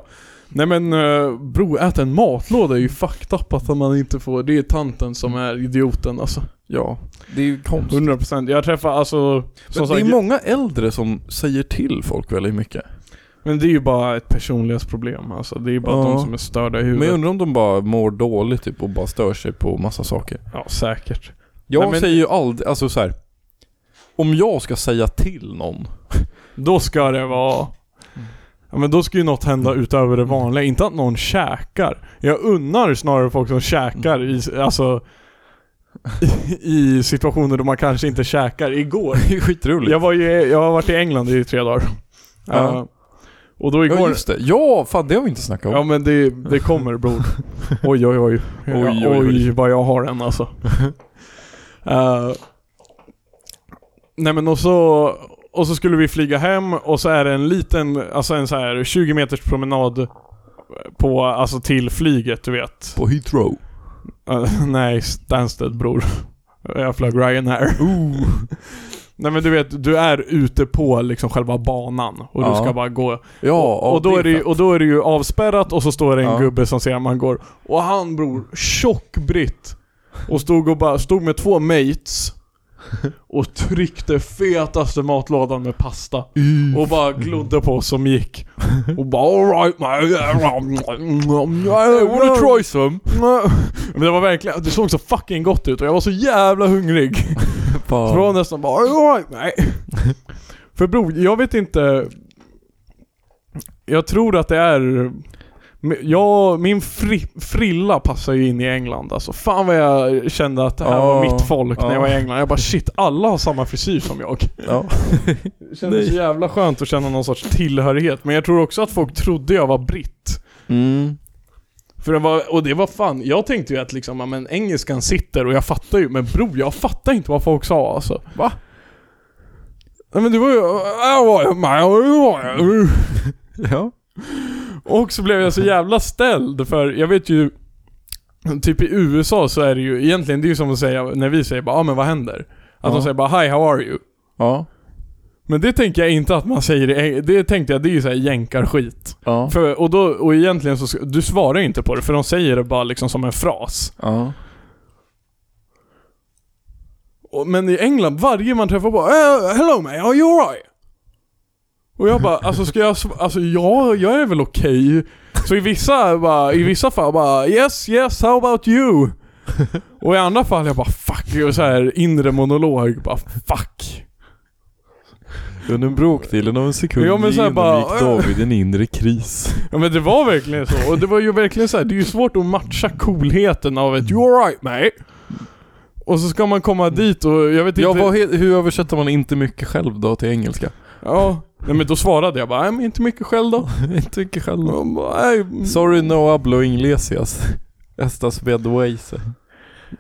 Nej men eh, bro, äta en matlåda är ju fucked up att man inte får. Det är tanten som Mm. är idioten alltså. Ja, det är ju konstigt. 100%. Jag träffar alltså, som Men det sagt, är många äldre som säger till folk väldigt mycket. men det är ju bara ett personlighetsproblem alltså. Det är ju bara Ja. de som är störda i huvudet. Men jag undrar om de bara mår dåligt typ och bara stör sig på massa saker. Ja, säkert. Jag Nej, men- säger ju aldrig, alltså så här. Om jag ska säga till någon. Då ska det vara... Mm. Ja men då ska ju något hända utöver det vanliga, inte att någon käkar. Jag unnar snarare folk som käkar Mm. i, alltså, i, i situationer då man kanske inte käkar. Igår, Det är skitroligt. jag, var ju, jag har varit i England i tre dagar. Ja. Eh, och då Ja igår... just det. Ja, fan det har vi inte snackat om. Ja men det, det kommer bror. Oj oj oj. Ja, Oj, oj, oj, oj. vad jag har den alltså. Eh, nej men och så, och så skulle vi flyga hem och så är det en liten, alltså en så här 20 meters promenad på, alltså till flyget du vet. På Heathrow. Eh, nej, Stansted bror. Jag flög Ryanair. Ooh. Nej men du vet, du är ute på liksom själva banan och du Ja. ska bara gå Ja, och, och, då är det ju, fett. och då är det ju avspärrat och så står det en Ja. gubbe som ser att man går. Och han bror, tjock britt. Och stod, och bara, stod med två mates. Och tryckte fetaste matlådan med pasta. Och bara glodde på oss som gick. Och bara alright I wanna man. try some. Men det var verkligen, det såg så fucking gott ut och jag var så jävla hungrig. Så det var Fan. nästan bara "All right, nej. För bror, jag vet inte. Jag tror att det är... Jag, min fri, frilla passar ju in i England alltså. Fan vad jag kände att det här var Ja, mitt folk när jag var i ja. England. Jag bara shit, alla har samma frisyr som jag. Ja. Det kändes så jävla skönt att känna någon sorts tillhörighet. Men jag tror också att folk trodde jag var britt. Mm. För det var, och det var fan, jag tänkte ju att liksom, ja, men engelskan sitter och jag fattar ju. Men bror, jag fattar inte vad folk sa alltså. Va? Nej men det var ju... Ja. Och så blev jag så jävla ställd för jag vet ju Typ i USA så är det ju egentligen, det är ju som att säga när vi säger bara ah, men vad händer? Ja. Att de säger bara hi how are you? Ja. Men det tänker jag inte att man säger det, det tänkte jag det är ju såhär jänkarskit. Ja. För, och då, och egentligen så, ska- du svarar ju inte på det för de säger det bara liksom som en fras. Ja. Och, men i England, varje man träffar på eh, hello man, are you alright? Och jag bara, alltså ska jag sv- alltså ja, jag är väl okej. Så i vissa, bara, i vissa fall bara yes, yes, how about you? Och i andra fall jag bara fuck, jag är så här inre monolog, bara fuck. Under en bråkdelen av en sekund Ja, men så här genomgick bara- David en inre kris. Ja men det var verkligen så. Och det var ju verkligen så här, det är ju svårt att matcha coolheten av ett you alright mate. Och så ska man komma dit och jag vet inte. Mm. Ja, vad he- hur översätter man inte mycket själv då till engelska? Ja. Nej men då svarade jag bara, nej men inte mycket skäll då. Jag tycker själv Och hon bara, nej. mm." Sorry no hablo inglesias. Estas bedways.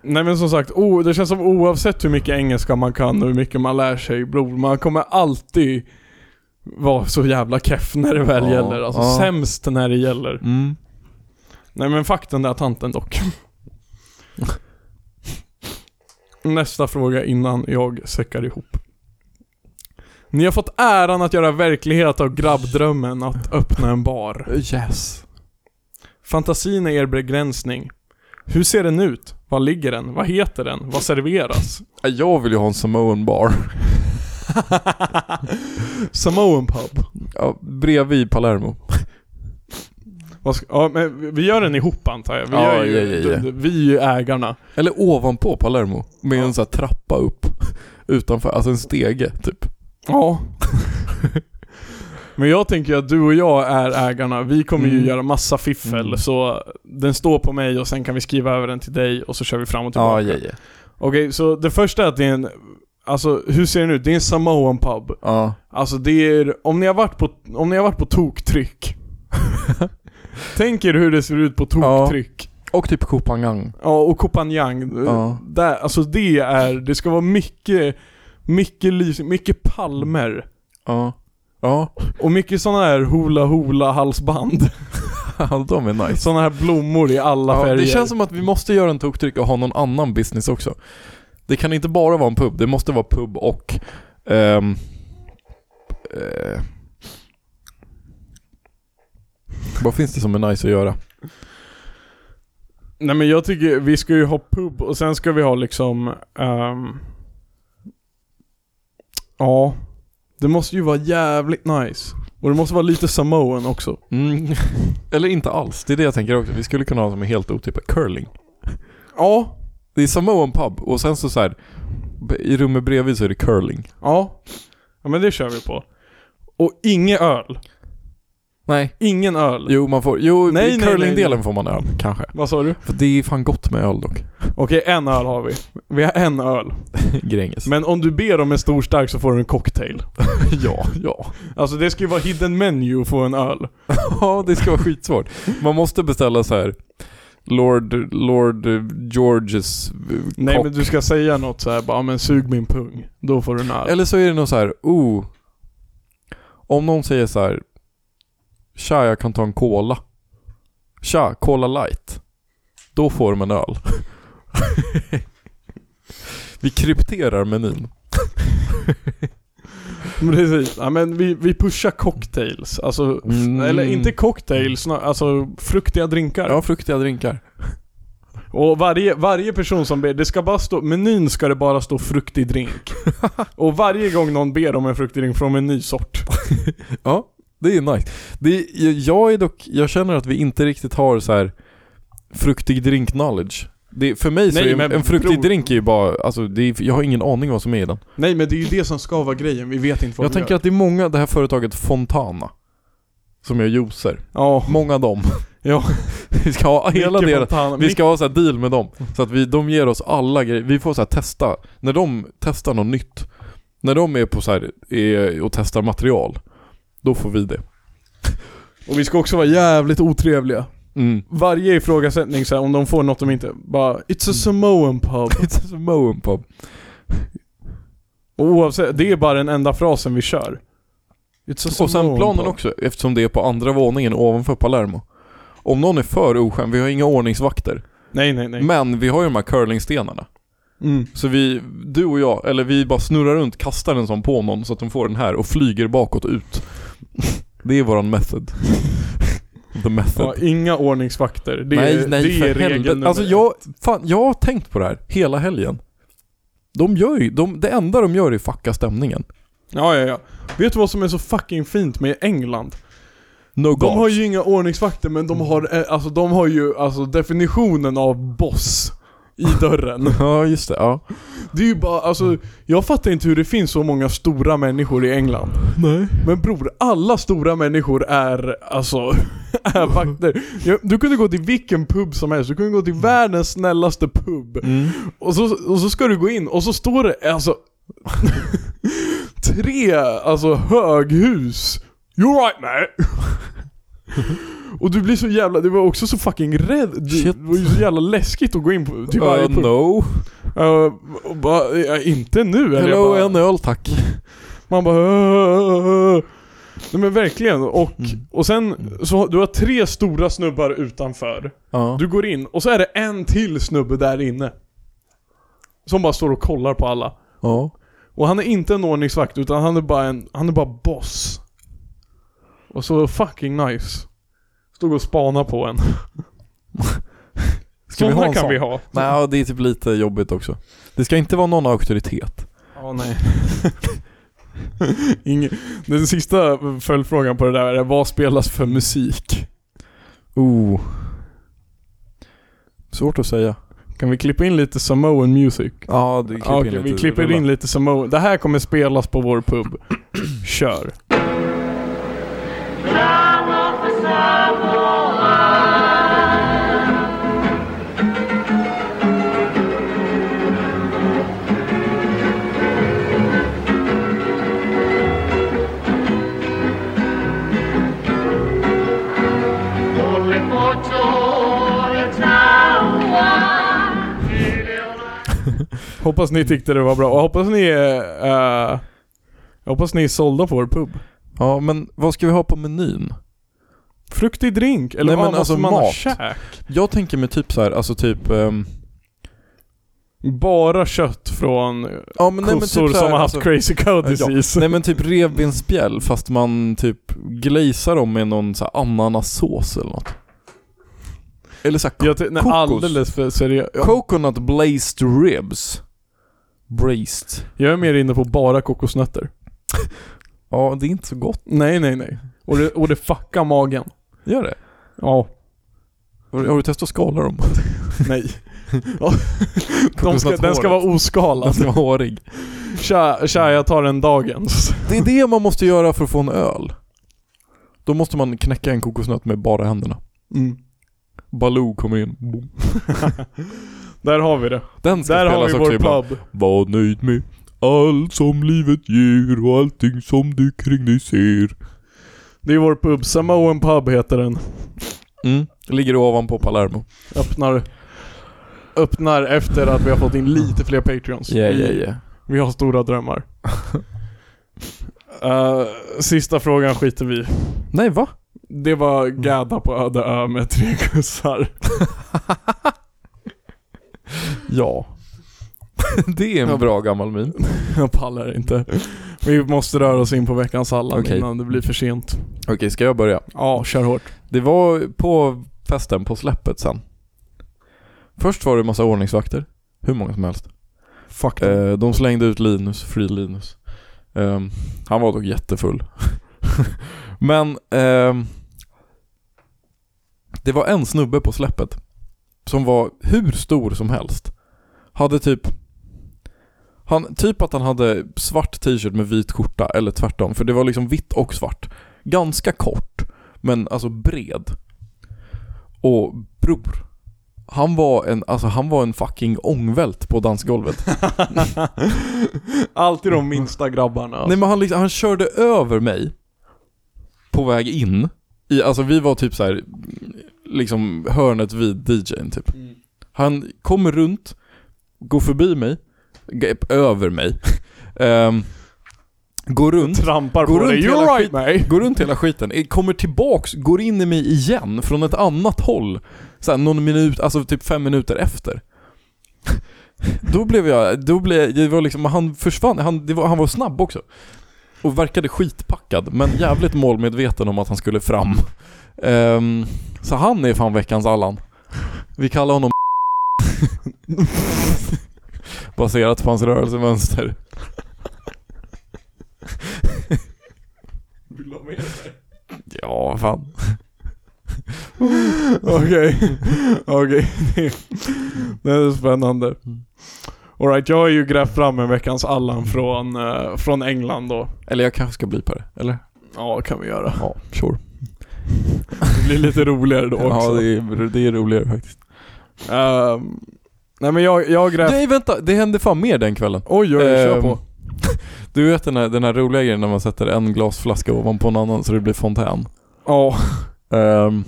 nej men som sagt, o- det känns som oavsett hur mycket engelska man kan och hur mycket man lär sig bror, man kommer alltid vara så jävla keff när det väl Ja, gäller. Alltså ja. sämst när det gäller. Mm. Nej men fuck den där tanten dock. Nästa fråga innan jag säckar ihop. Ni har fått äran att göra verklighet av grabbdrömmen att öppna en bar. Yes. Fantasin är er begränsning. Hur ser den ut? Var ligger den? Vad heter den? Vad serveras? Jag vill ju ha en Samoan bar. Samoan pub. Ja, bredvid Palermo. Vad ska, ja, men vi gör den ihop antar jag. Vi, Ja, gör ju, ja, ja, ja. d- d- vi är ju ägarna. Eller ovanpå Palermo. Med Ja. en sån här trappa upp. Utanför, alltså en stege typ. Ja. Men jag tänker att du och jag är ägarna. Vi kommer ju Mm. göra massa fiffel. Mm. Så den står på mig och sen kan vi skriva över den till dig och så kör vi fram och tillbaka. ja. Okej, så det första är att det är en... Alltså hur ser den ut? Det är en Samoan pub. Ja. Alltså det är, om ni har varit på, om ni har varit på toktryck Tänk er hur det ser ut på toktryck Och typ Kopangang. Ja, och Kopanjang Ja. Där, alltså det är, det ska vara mycket, mycket lys, mycket palmer Ja. Ja. Och mycket sådana här hula hula halsband De är nice. Sådana här blommor i alla Ja, färger det känns som att vi måste göra en toktryck och ha någon annan business också. Det kan inte bara vara en pub, det måste vara pub och... ehm, eh, vad finns det som är nice att göra? Nej men jag tycker vi ska ju ha pub och sen ska vi ha liksom ehm, Ja Det måste ju vara jävligt nice Och det måste vara lite Samoan också Mm. Eller inte alls, det är det jag tänker också. Vi skulle kunna ha som är helt otippat, curling. Ja, Det är Samoan pub och sen så, så här i rummet bredvid så är det curling. ja Ja men det kör vi på Och ingen öl Nej. Ingen öl Jo, man får, jo Nej, i nej, nej, curlingdelen får man öl, kanske. Vad sa du? För det är fan gott med öl dock. Okej, en öl har vi Vi har en öl Gränges. Men om du ber om en stor stark så får du en cocktail ja, ja. Alltså det ska ju vara hidden menu att få en öl Ja, det ska vara skitsvårt. Man måste beställa så här. Lord, Lord Georges eh, Nej kock. men du ska säga något så här, bara "Ja, men sug min pung Då får du en öl Eller så är det nog så här, oh. Om någon säger så här. Tja, jag kan ta en cola. Tja, cola light. Då får de en öl. Vi krypterar menyn. Precis, ja, men vi, vi pushar cocktails, alltså f- Mm. Eller inte cocktails, snar- alltså fruktiga drinkar. Ja, fruktiga drinkar. Och varje, varje person som ber, det ska bara stå, menyn ska det bara stå fruktig drink. och varje gång någon ber om en fruktig drink från en ny sort. Ja, det är nice. Det är, jag är dock, jag känner att vi inte riktigt har så här fruktig drink knowledge. Det, för mig så Nej, är men en, en fruktig bror- drink är ju bara, alltså det är, jag har ingen aning vad som är i den. Nej men det är ju det som ska vara grejen, vi vet inte vad jag de tänker gör. att det är många, det här företaget Fontana, som gör juicer. Ja, Många dem. Ja. vi ska ha hela Micke deras, Fontana, vi Micke- ska ha så här deal med dem. Så att vi, de ger oss alla grejer, vi får så här testa, när de testar något nytt, när de är på så här, är, och testar material, då får vi det. Och vi ska också vara jävligt otrevliga. Mm. Varje ifrågasättning så här, om de får något de inte, bara It's a Samoan pub. It's a Samoan pub. Och oavsett, det är bara den enda frasen vi kör. It's a Och sen Samoan planen pub. också, eftersom det är på andra våningen ovanför Palermo. Om någon är för oskön, vi har inga ordningsvakter. Nej nej nej. Men vi har ju de här curlingstenarna. Mm. Så vi, du och jag, eller vi bara snurrar runt, kastar en sån på någon så att de får den här och flyger bakåt och ut. Det är våran method. The method. Ja, inga ordningsvakter. Det nej, är, nej det är för regel helvete. nummer Alltså jag, fan, jag har tänkt på det här hela helgen. De gör ju, de, det enda de gör är att fucka stämningen. Ja, ja, ja. Vet du vad som är så fucking fint med England? No De har gods. ju inga ordningsvakter men de har, eh, alltså, de har ju alltså, definitionen av boss i dörren. Ja just det, ja. Det är ju bara, alltså, jag fattar inte hur det finns så många stora människor i England. Nej. Men bror, alla stora människor är alltså, är vakter. Ja, Du kunde gå till vilken pub som helst, du kunde gå till världens snällaste pub. Mm. Och så, och så ska du gå in och så står det alltså tre alltså höghus. You're right man. Och du blir så jävla, du var också så fucking rädd. Du, Shit. det var ju så jävla läskigt att gå in på typ Uh, varje punkt. no. Eh, och bara, eh, inte nu eller? Jag Hello, bara, en öl tack. Man bara "Öh, "Åh." Nej men verkligen, och, Mm. och sen så har- du har tre stora snubbar utanför. Ja. Du går in och så är det en till snubbe där inne. Som bara står och kollar på alla. ja. Och han är inte en ordningsvakt utan han är bara en, han är bara boss. Och så fucking nice. Stod och spana på en. Ska vi ha en kan sån? vi ha. Nej, det är typ lite jobbigt också. Det ska inte vara någon auktoritet. Ja, nej. Ingen, den sista följdfrågan på det där är vad spelas för musik? Oh. Svårt att säga. Kan vi klippa in lite Samoan music? Ja, du Ja, okej, vi klipper in lite Samoan. Det här kommer spelas på vår pub. Kör. Only for joy, town wide. Hoppas ni tyckte det var bra och hoppas ni är... eh, jag hoppas ni är sålda på vår pub. Ja, men vad ska vi ha på menyn? Fruktig drink? Eller Nej, vad men måste alltså man ha mat. käk? Jag tänker mig typ så här, alltså typ... ehm, Bara kött från ja, men, nej, men typ kossor så här, som har haft alltså- crazy cow ja. disease. Nej men typ revbensspjäll fast man typ glazar dem med någon så här ananassås eller något. Eller så här, jag ty- nej, kokos. alldeles för seriös. co- coconut blazed ribs. Braced. Jag är mer inne på bara kokosnötter. Ja, det är inte så gott. Nej, nej, nej. Och det, och det fuckar magen. Gör det? Ja. Har, har du testat att skala dem? Nej. Ja. De ska, den ska vara Den oskalad. ska vara hårig. Tja, tja, jag tar en dagens. Det är det man måste göra för att få en öl. Då måste man knäcka en kokosnöt med bara händerna. Mm. Baloo kommer in. Boom. Där har vi det. Den ska Där har spelas vi också vår ibland. pub. Var nöjd med allt som livet ger och allting som du kring dig ser. Det är vår pub. Samoan pub heter den. Mm. Ligger ovanpå Palermo. Öppnar, öppnar efter att vi har fått in lite fler Patreons. Vi har stora drömmar. Eh, sista frågan skiter vi i. Nej va? Det var Gädda på öde ö med tre kussar. Ja. det är en Ja. bra gammal min. Jag pallar inte. Vi måste röra oss in på veckans Allan Okej. innan det blir för sent. Okej, ska jag börja? Ja, kör hårt. Det var på festen på släppet sen. Först var det massa ordningsvakter. Hur många som helst. Fuck det. Eh, de slängde ut Linus, Free Linus. Ehm, han var dock jättefull. Men ehm, det var en snubbe på släppet som var hur stor som helst. Hade typ han, typ att han hade svart t-shirt med vit skjorta eller tvärtom för det var liksom vitt och svart. Ganska kort men alltså bred. Och bror. Han var en, alltså han var en fucking ångvält på dansgolvet. Alltid de minsta grabbarna. Nej men han, liksom, han körde över mig på väg in. I, alltså vi var typ så här, liksom hörnet vid DJn typ. Mm. Han kommer runt, går förbi mig, g- över mig. Ehm, går runt, Trampar Går på dig. runt hela You're skit- right mate. går runt hela skiten, eh, kommer tillbaks, går in i mig igen från ett annat håll. Så här, någon minut, alltså typ fem minuter efter. Då blev jag, då blev, det var liksom, han försvann, han, det var, han var snabb också. Och verkade skitpackad, men jävligt målmedveten om att han skulle fram. Ehm, så han är fan veckans Allan. Vi kallar honom Baserat på hans rörelsemönster. Ja, fan. Okej, okej. Det- Det är spännande. Mm. Alright, jag har ju grävt fram en veckans Allan från, eh, från England då. Eller jag kanske ska bli på det, eller? Ja, kan vi göra. Ja, sure. Det blir lite roligare då också. Ja, det är, det är roligare faktiskt. Ehm, nej men jag, jag har grävt... Nej, vänta! Det hände fan mer den kvällen. Oj, oj, oj, kör Ehm, på. Du vet den här, den här roliga grejen när man sätter en glasflaska ovanpå en annan så det blir fontän? Ja. Ehm,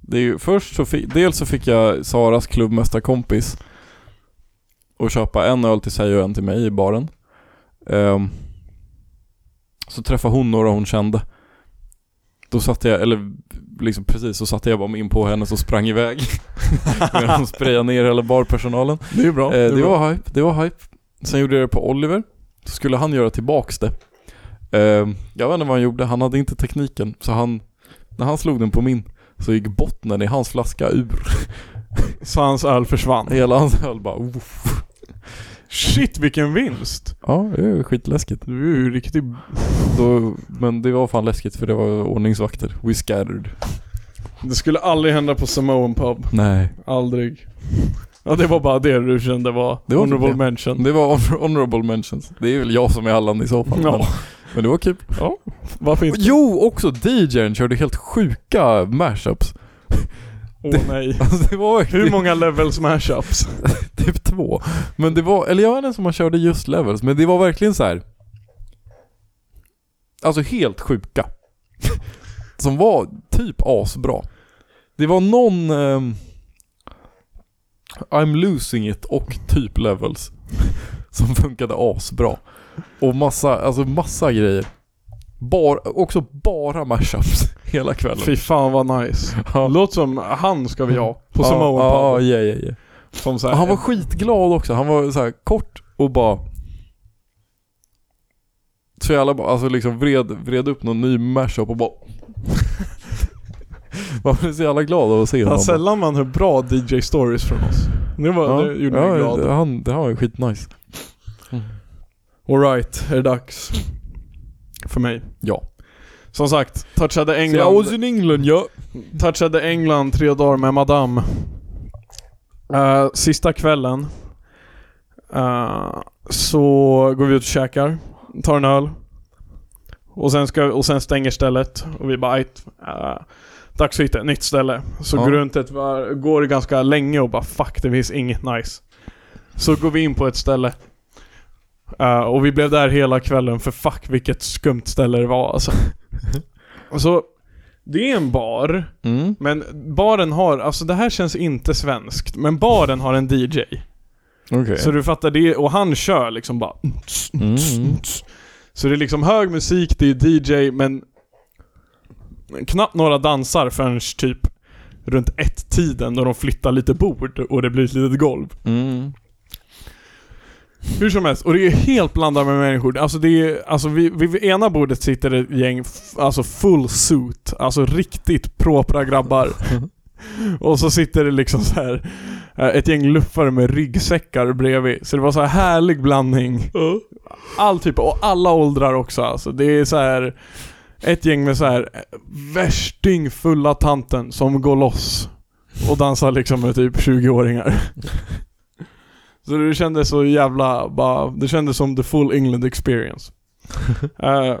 det är ju, först så fick, dels så fick jag Saras klubbmästarkompis och köpa en öl till sig och en till mig i baren. Ehm, så träffade hon några hon kände. Då satte jag, eller liksom precis, så satte jag bara mig in på henne och sprang iväg. Medan hon sprayade ner hela barpersonalen. Det är ju bra. Eh, är det bra. var hype, det var hype. Sen gjorde jag det på Oliver. Så skulle han göra tillbaks det. Eh, jag vet inte vad han gjorde, han hade inte tekniken. Så han, när han slog den på min så gick bottnen i hans flaska ur. Så hans öl försvann. Hela hans öl bara oof. Shit vilken vinst! Ja, det är skitläskigt. Du är ju riktigt... Då, men det var fan läskigt för det var ordningsvakter. We scattered. Det skulle aldrig hända på Samoan Pub. Nej. Aldrig. Ja det var bara det du kände var, Det var honorable typ det. mention. Det var honor- honorable mentions. Det är väl jag som är Allan i så fall. Ja. Men, men det var kul. Varför inte? Jo, också DJn körde helt sjuka mashups. Åh det- nej. Alltså det var verkligen- Hur många levels mashups? Typ två. Men det var, eller jag vet inte om man körde just levels, men det var verkligen så här. Alltså helt sjuka. Som var typ asbra. Det var någon... ehm, I'm losing it och typ levels. Som funkade asbra. Och massa, alltså massa grejer. Bar, också bara mashups hela kvällen. Fy fan vad nice. Ja. Låter som han ska vi ha på Samoan Pub. Ja, ja, ja, ja, ja. Som så här, Och han var skitglad också, han var så här kort och bara så jävla bara, alltså liksom vred, vred upp någon ny mashup och bara Man blev så jävla glad av att se Fan, honom sällan man hör bra DJ stories från oss. Nu var, Ja, det gjorde mig ja, glad. det- han, det, han var ju skitnice Alright, är det dags? För mig. Ja Som sagt, touchade Så jag England, was in England ja touchade England tre dagar med madame. Eh, sista kvällen eh, så går vi ut och käkar, tar en öl. Och sen, ska, och sen stänger stället och vi bara "Ajt, eh, Dags att hitta ett nytt ställe. Så Ja. går runt ett var, går ganska länge och bara fuck det finns inget nice. Så går vi in på ett ställe. Eh, och vi blev där hela kvällen för fuck vilket skumt ställe det var alltså. Och så, det är en bar. mm. Men baren har, alltså det här känns inte svenskt, men baren har en DJ. Okej Så du fattar det, och han kör liksom bara. mm. Så det är liksom hög musik, det är DJ, men knappt några dansar förrän typ runt ett-tiden då de flyttar lite bord och det blir ett litet golv. Mm. Hur som helst, och det är helt blandat med människor. Alltså det är, alltså vid, vid ena bordet sitter ett gäng, f- alltså full suit, alltså riktigt propra grabbar. och så sitter det liksom så här eh, ett gäng luffare med ryggsäckar bredvid. Så det var så här härlig blandning. All typ, och alla åldrar också alltså. Det är så här ett gäng med så här eh, värstingfulla tanten som går loss och dansar liksom med typ 20-åringar. Så det kändes så jävla bara, det kändes som the full England experience. Eh,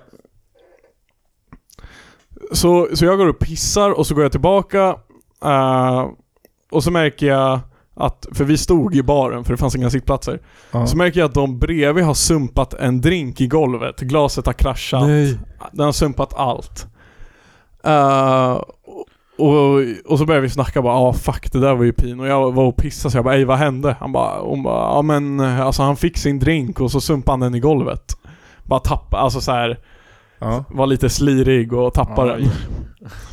så, så jag går upp, pissar och så går jag tillbaka. eh, och så märker jag att, för vi stod i baren för det fanns inga sittplatser. Ja. Så märker jag att de bredvid har sumpat en drink i golvet. Glaset har kraschat. Nej Den har sumpat allt. Eh, och, och så började vi snacka bara ah fuck det där var ju pin. Och jag var och pissade så jag bara ey vad hände? Han bara, hon bara ja men eh, alltså han fick sin drink och så sumpade han den i golvet. Bara tappa, alltså så här ja. var lite slirig och tappade Aj. den.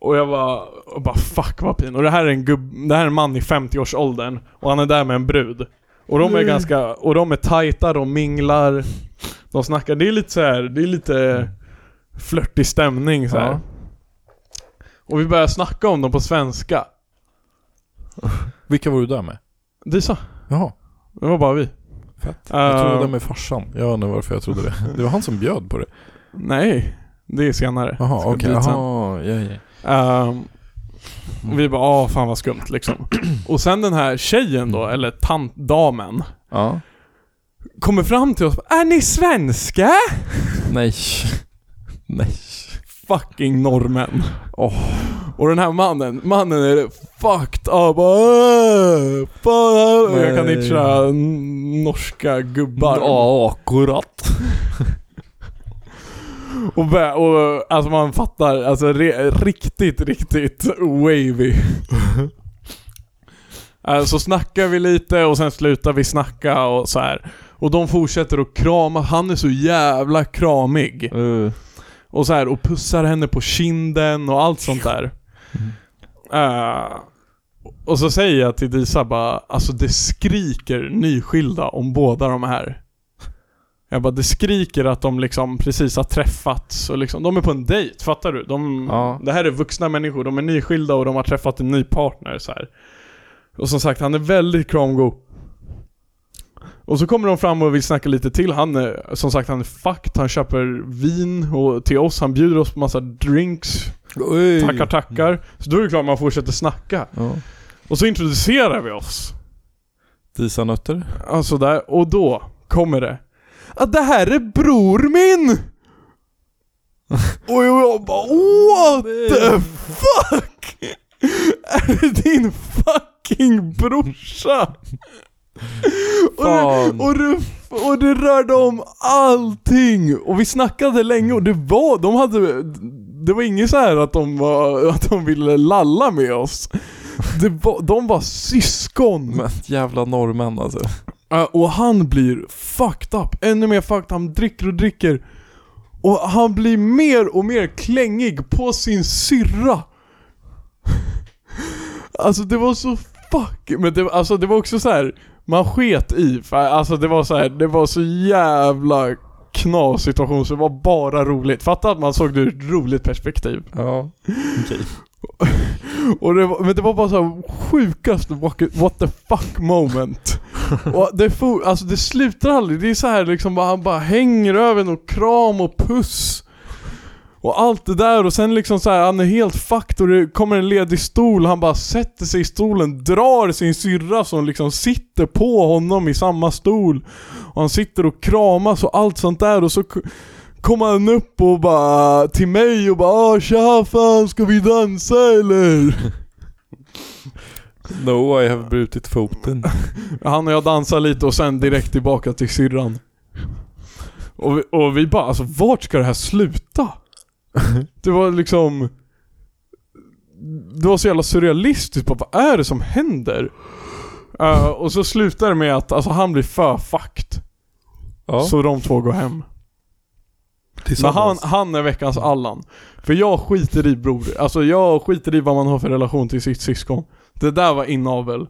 Och jag bara, och bara fuck vad pin. Och det här är en gubb, det här är en man i 50-årsåldern och han är där med en brud. Och de är Nej. ganska, och de är tajta, de minglar. De snackar, det är lite så här, det är lite flörtig stämning så här. Ja. Och vi börjar snacka om dem på svenska. Vilka var du där med? Det är så. Jaha Det var bara vi. Fett. Eh, Jag trodde du var där med farsan, jag vet inte varför jag trodde det Det var han som bjöd på det Eh, Nej, det är senare. Jaha Ska okej, dit sen. jaha, ja, ja. Ehm, och vi bara ah fan vad skumt liksom. Och sen den här tjejen då, eller tant, damen, ja. kommer fram till oss Är ni svenska? Nej. Nej. Fucking norrmän. Åh. Och den här mannen, mannen är fucked up. Äh, fan. Och Jag kan Nej. itcha n- norska gubbar. Ja, akkurat. Och, bä- och alltså man fattar, alltså re, riktigt, riktigt wavy. Eh, Så snackar vi lite och sen slutar vi snacka och så här. Och de fortsätter att krama, han är så jävla kramig. Uh. Och så här, och pussar henne på kinden och allt sånt där. Eh, och så säger jag till Disa bara, alltså det skriker nyskilda om båda de här. Jag bara, det skriker att de liksom precis har träffats och liksom, de är på en dejt, fattar du? De, Ja. Det här är vuxna människor, de är nyskilda och de har träffat en ny partner så här. Och som sagt, han är väldigt kramgo. Och så kommer de fram och vill snacka lite till. Han är, som sagt, han är fucked. Han köper vin och till oss. Han bjuder oss på massa drinks. Tackar, tackar. Så då är det klart man fortsätter snacka. Ja. Och så introducerar vi oss. Disanötter. Alltså där, och då kommer det. Att det här är bror min! Och jag bara what the fuck! Är det din fucking brorsa? Och det, Fan. och, det, och det rörde om allting! Och vi snackade länge och det var, de hade, det var inget så här att de var, att de ville lalla med oss. Det var, de var syskon! Men jävla norrmän alltså. Ja, Eh, och han blir fucked up, ännu mer fucked, han dricker och dricker. Och han blir mer och mer klängig på sin syrra. Alltså det var så fuck, men det, alltså, det var också så här. man sket i, för alltså det var så här, det var så jävla knas situation så det var bara roligt. Fatta att man såg det ur ett roligt perspektiv. Ja. Okej. Och det var, men det var bara så här sjukaste what, what the fuck moment. och det, for, alltså det slutar aldrig, det är så här liksom bara, han bara hänger över en och kram och puss. Och allt det där och sen liksom så här, han är helt fucked och det kommer en ledig stol, han bara sätter sig i stolen, drar sin syrra som liksom sitter på honom i samma stol. Och han sitter och kramas och allt sånt där och så k- kom han upp och bara till mig och bara "Ah, tja fan ska vi dansa eller? No, I have brutit foten. Han och jag dansade lite och sen direkt tillbaka till syrran. Och vi, och vi bara alltså vart ska det här sluta? Det var liksom Det var så jävla surrealistiskt bara, vad är det som händer? Eh, och så slutar det med att alltså, han blir för fucked. Ja. Så de två går hem. Men han, han är veckans Allan. För jag skiter i bror, alltså jag skiter i vad man har för relation till sitt syskon. Det där var inavel.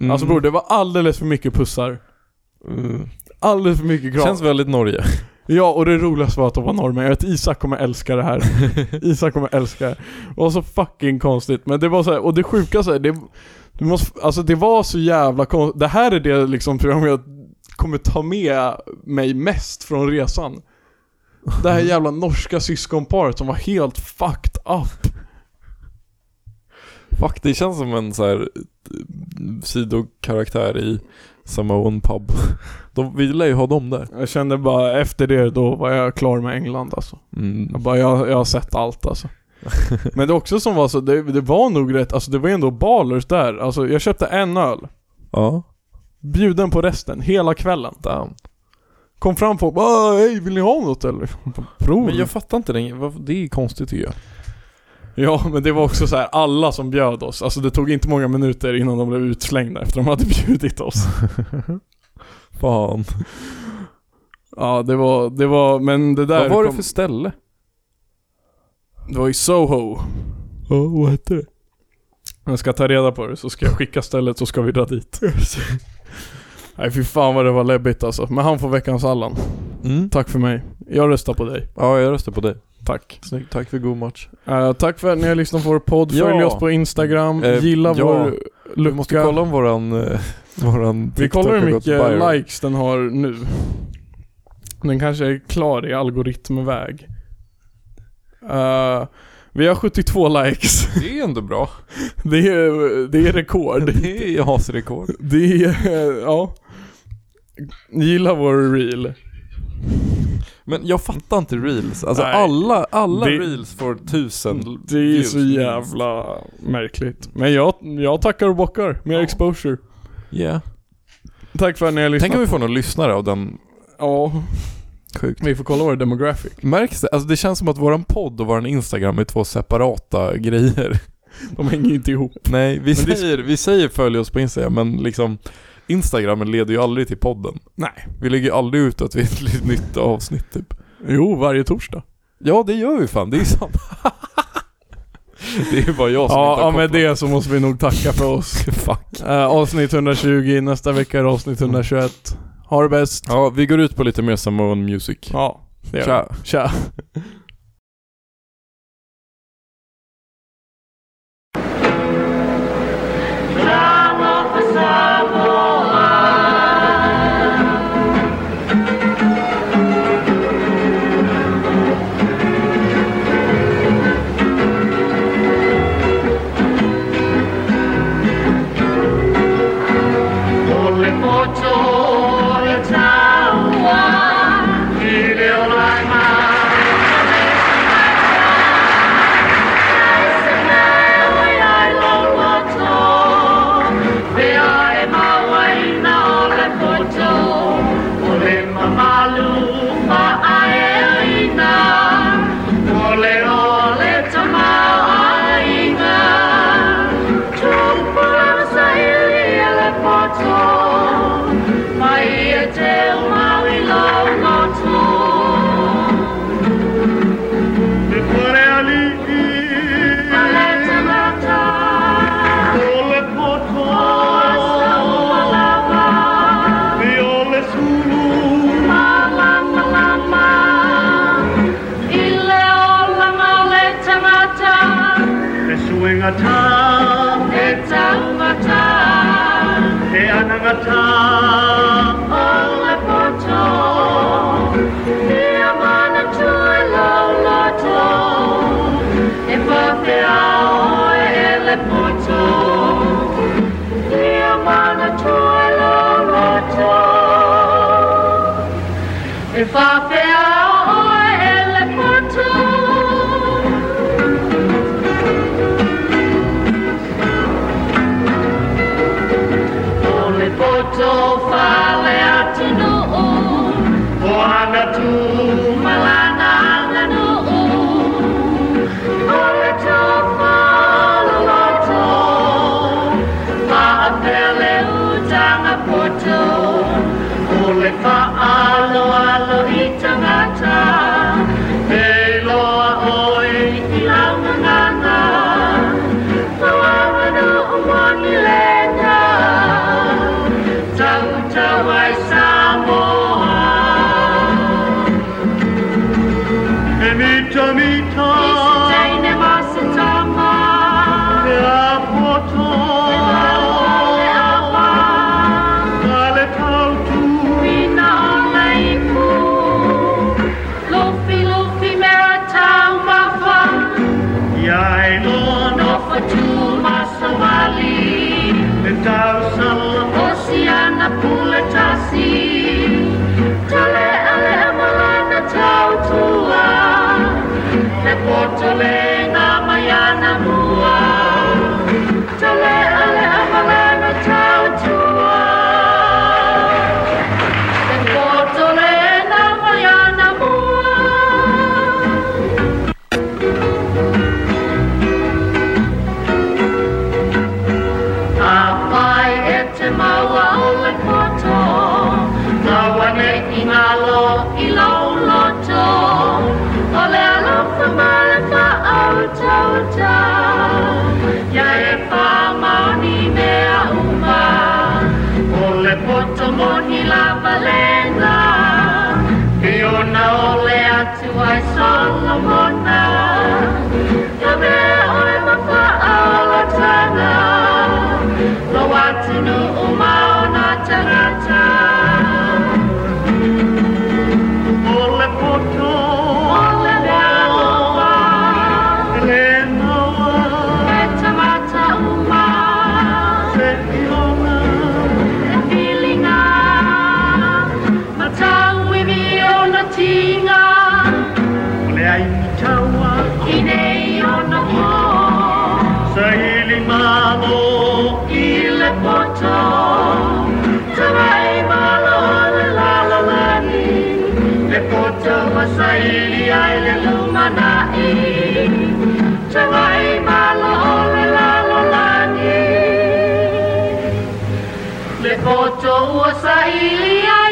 Mm. Alltså bror, det var alldeles för mycket pussar. Mm. Alldeles för mycket kram. Känns väldigt Norge. Ja, och det roligaste var att de var norrmän. Jag vet Isak kommer älska det här. Isak kommer älska det här. Det var så fucking konstigt. Men det var så här, och det sjukaste, det, du måste, alltså det var så jävla konstigt. Det här är det liksom tror jag jag kommer ta med mig mest från resan. Det här jävla norska syskonparet som var helt fucked up. Fuck, det känns som en så här eh, sidokaraktär i Samoan pub. De, vi lär ju ha dem där. Jag kände bara efter det, då var jag klar med England alltså. Jag Mm. bara, jag, jag har sett allt alltså. Men det också som var så, det, det var nog rätt, alltså det var ändå balers där. Alltså jag köpte en öl, Ja. bjuden på resten, hela kvällen. Damn. Kom fram folk bara, "Äh, hej vill ni ha något eller? Prov. Men jag fattar inte den. varför- Det är konstigt tycker jag. Ja men det var också så här, alla som bjöd oss, alltså det tog inte många minuter innan de blev utslängda efter de hade bjudit oss. Fan. Ja det var, det var, men det där Vad var det kom- för ställe? Det var i Soho. Ja, vad hette det? Jag ska ta reda på det, så ska jag skicka stället så ska vi dra dit. Nej fy fan vad det var läbbigt alltså. Men han får veckans Allan. Mm. Tack för mig. Jag röstar på dig. Ja, jag röstar på dig. Tack. Snyggt. Tack för god match. Eh, tack för att ni har lyssnat på vår podd. Ja. Följ oss på Instagram. Eh, Gilla ja. vår lucka. Vi måste kolla om våran, eh, våran Vi TikTok kollar har hur gått viral. mycket likes den har nu. Den kanske är klar i algoritmväg. Eh, vi har 72 likes. Det är ändå bra. Det är, det är rekord. Det är hasrekord. Det är, ja. Gilla vår reel. Men jag fattar inte reels. Alltså Nej. alla, alla Det- reels får tusen Det är views så jävla märkligt. Men jag, jag tackar och bockar. Mer exposure. Yeah. Tack för att ni har lyssnat. Tänk om vi får någon lyssnare av den. Ja, Sjukt. vi får kolla vår demographic. Märks det? Alltså det känns som att våran podd och våran Instagram är två separata grejer. De hänger inte ihop. Nej, vi Men det- säger, vi säger följ oss på Instagram men liksom Instagramen leder ju aldrig till podden. Nej. Vi lägger ju aldrig ut att vi är ett nytt avsnitt typ. Jo, varje torsdag. Ja det gör vi fan, det är ju sant. det är bara jag som inte Ja, har ja med kopplat. det så måste vi nog tacka för oss. Fuck. Eh, avsnitt 120, nästa vecka är det avsnitt 121. Ha det bäst. Ja, vi går ut på lite mer Samoan Music. Ja, det gör Tja. vi. Tja. Some of the Samoa. Only for Tore Tawa, he will like Tell my love not to before I leave. I let her die. Ole poto. The ole sulu. Mama, mama, mama. Ile ole ma let her mata. The suing a ta. Eta mata. The anangata. Ole poto. If I fail, I'll let my Only poto fale atino o Ohana tu malana lano o Only to fale lato Fa apele utanga poto Only fa alo alo itangata Eloa oi ilanga ngana Mita, mita, la poto, kale tau tu, Luffy, Luffy, Maritime, Waffle. yai lona, Nova Tuma Somali, tau sala, Oceana Puletasi, Tale Ale Amalana Tau Tua, Ne Portole Na Mayana Mua, Tale Ale Amalana Tau Tua, Ne Portole Na Mayana Mua. Apai e te maua o le koto Kaua nei i ngalo i lau loto O le alofa mare fa au tau tau Ia e wha maoni mea uma O le poto moni la valena I ona o le atu ai solomona Ia mea oe mawha au la tana Lo atinu o maona tangata ole poto, O le lea loa lena, E tamata uma se iona, E whilinga Matau i vi o na tinga Kawa, Inne on the wall, sa hiling mamo, ile poto. Tawai malon lalamani, le poto masaili ai le lumanai. Tawai malon lalamani, le poto masaili ai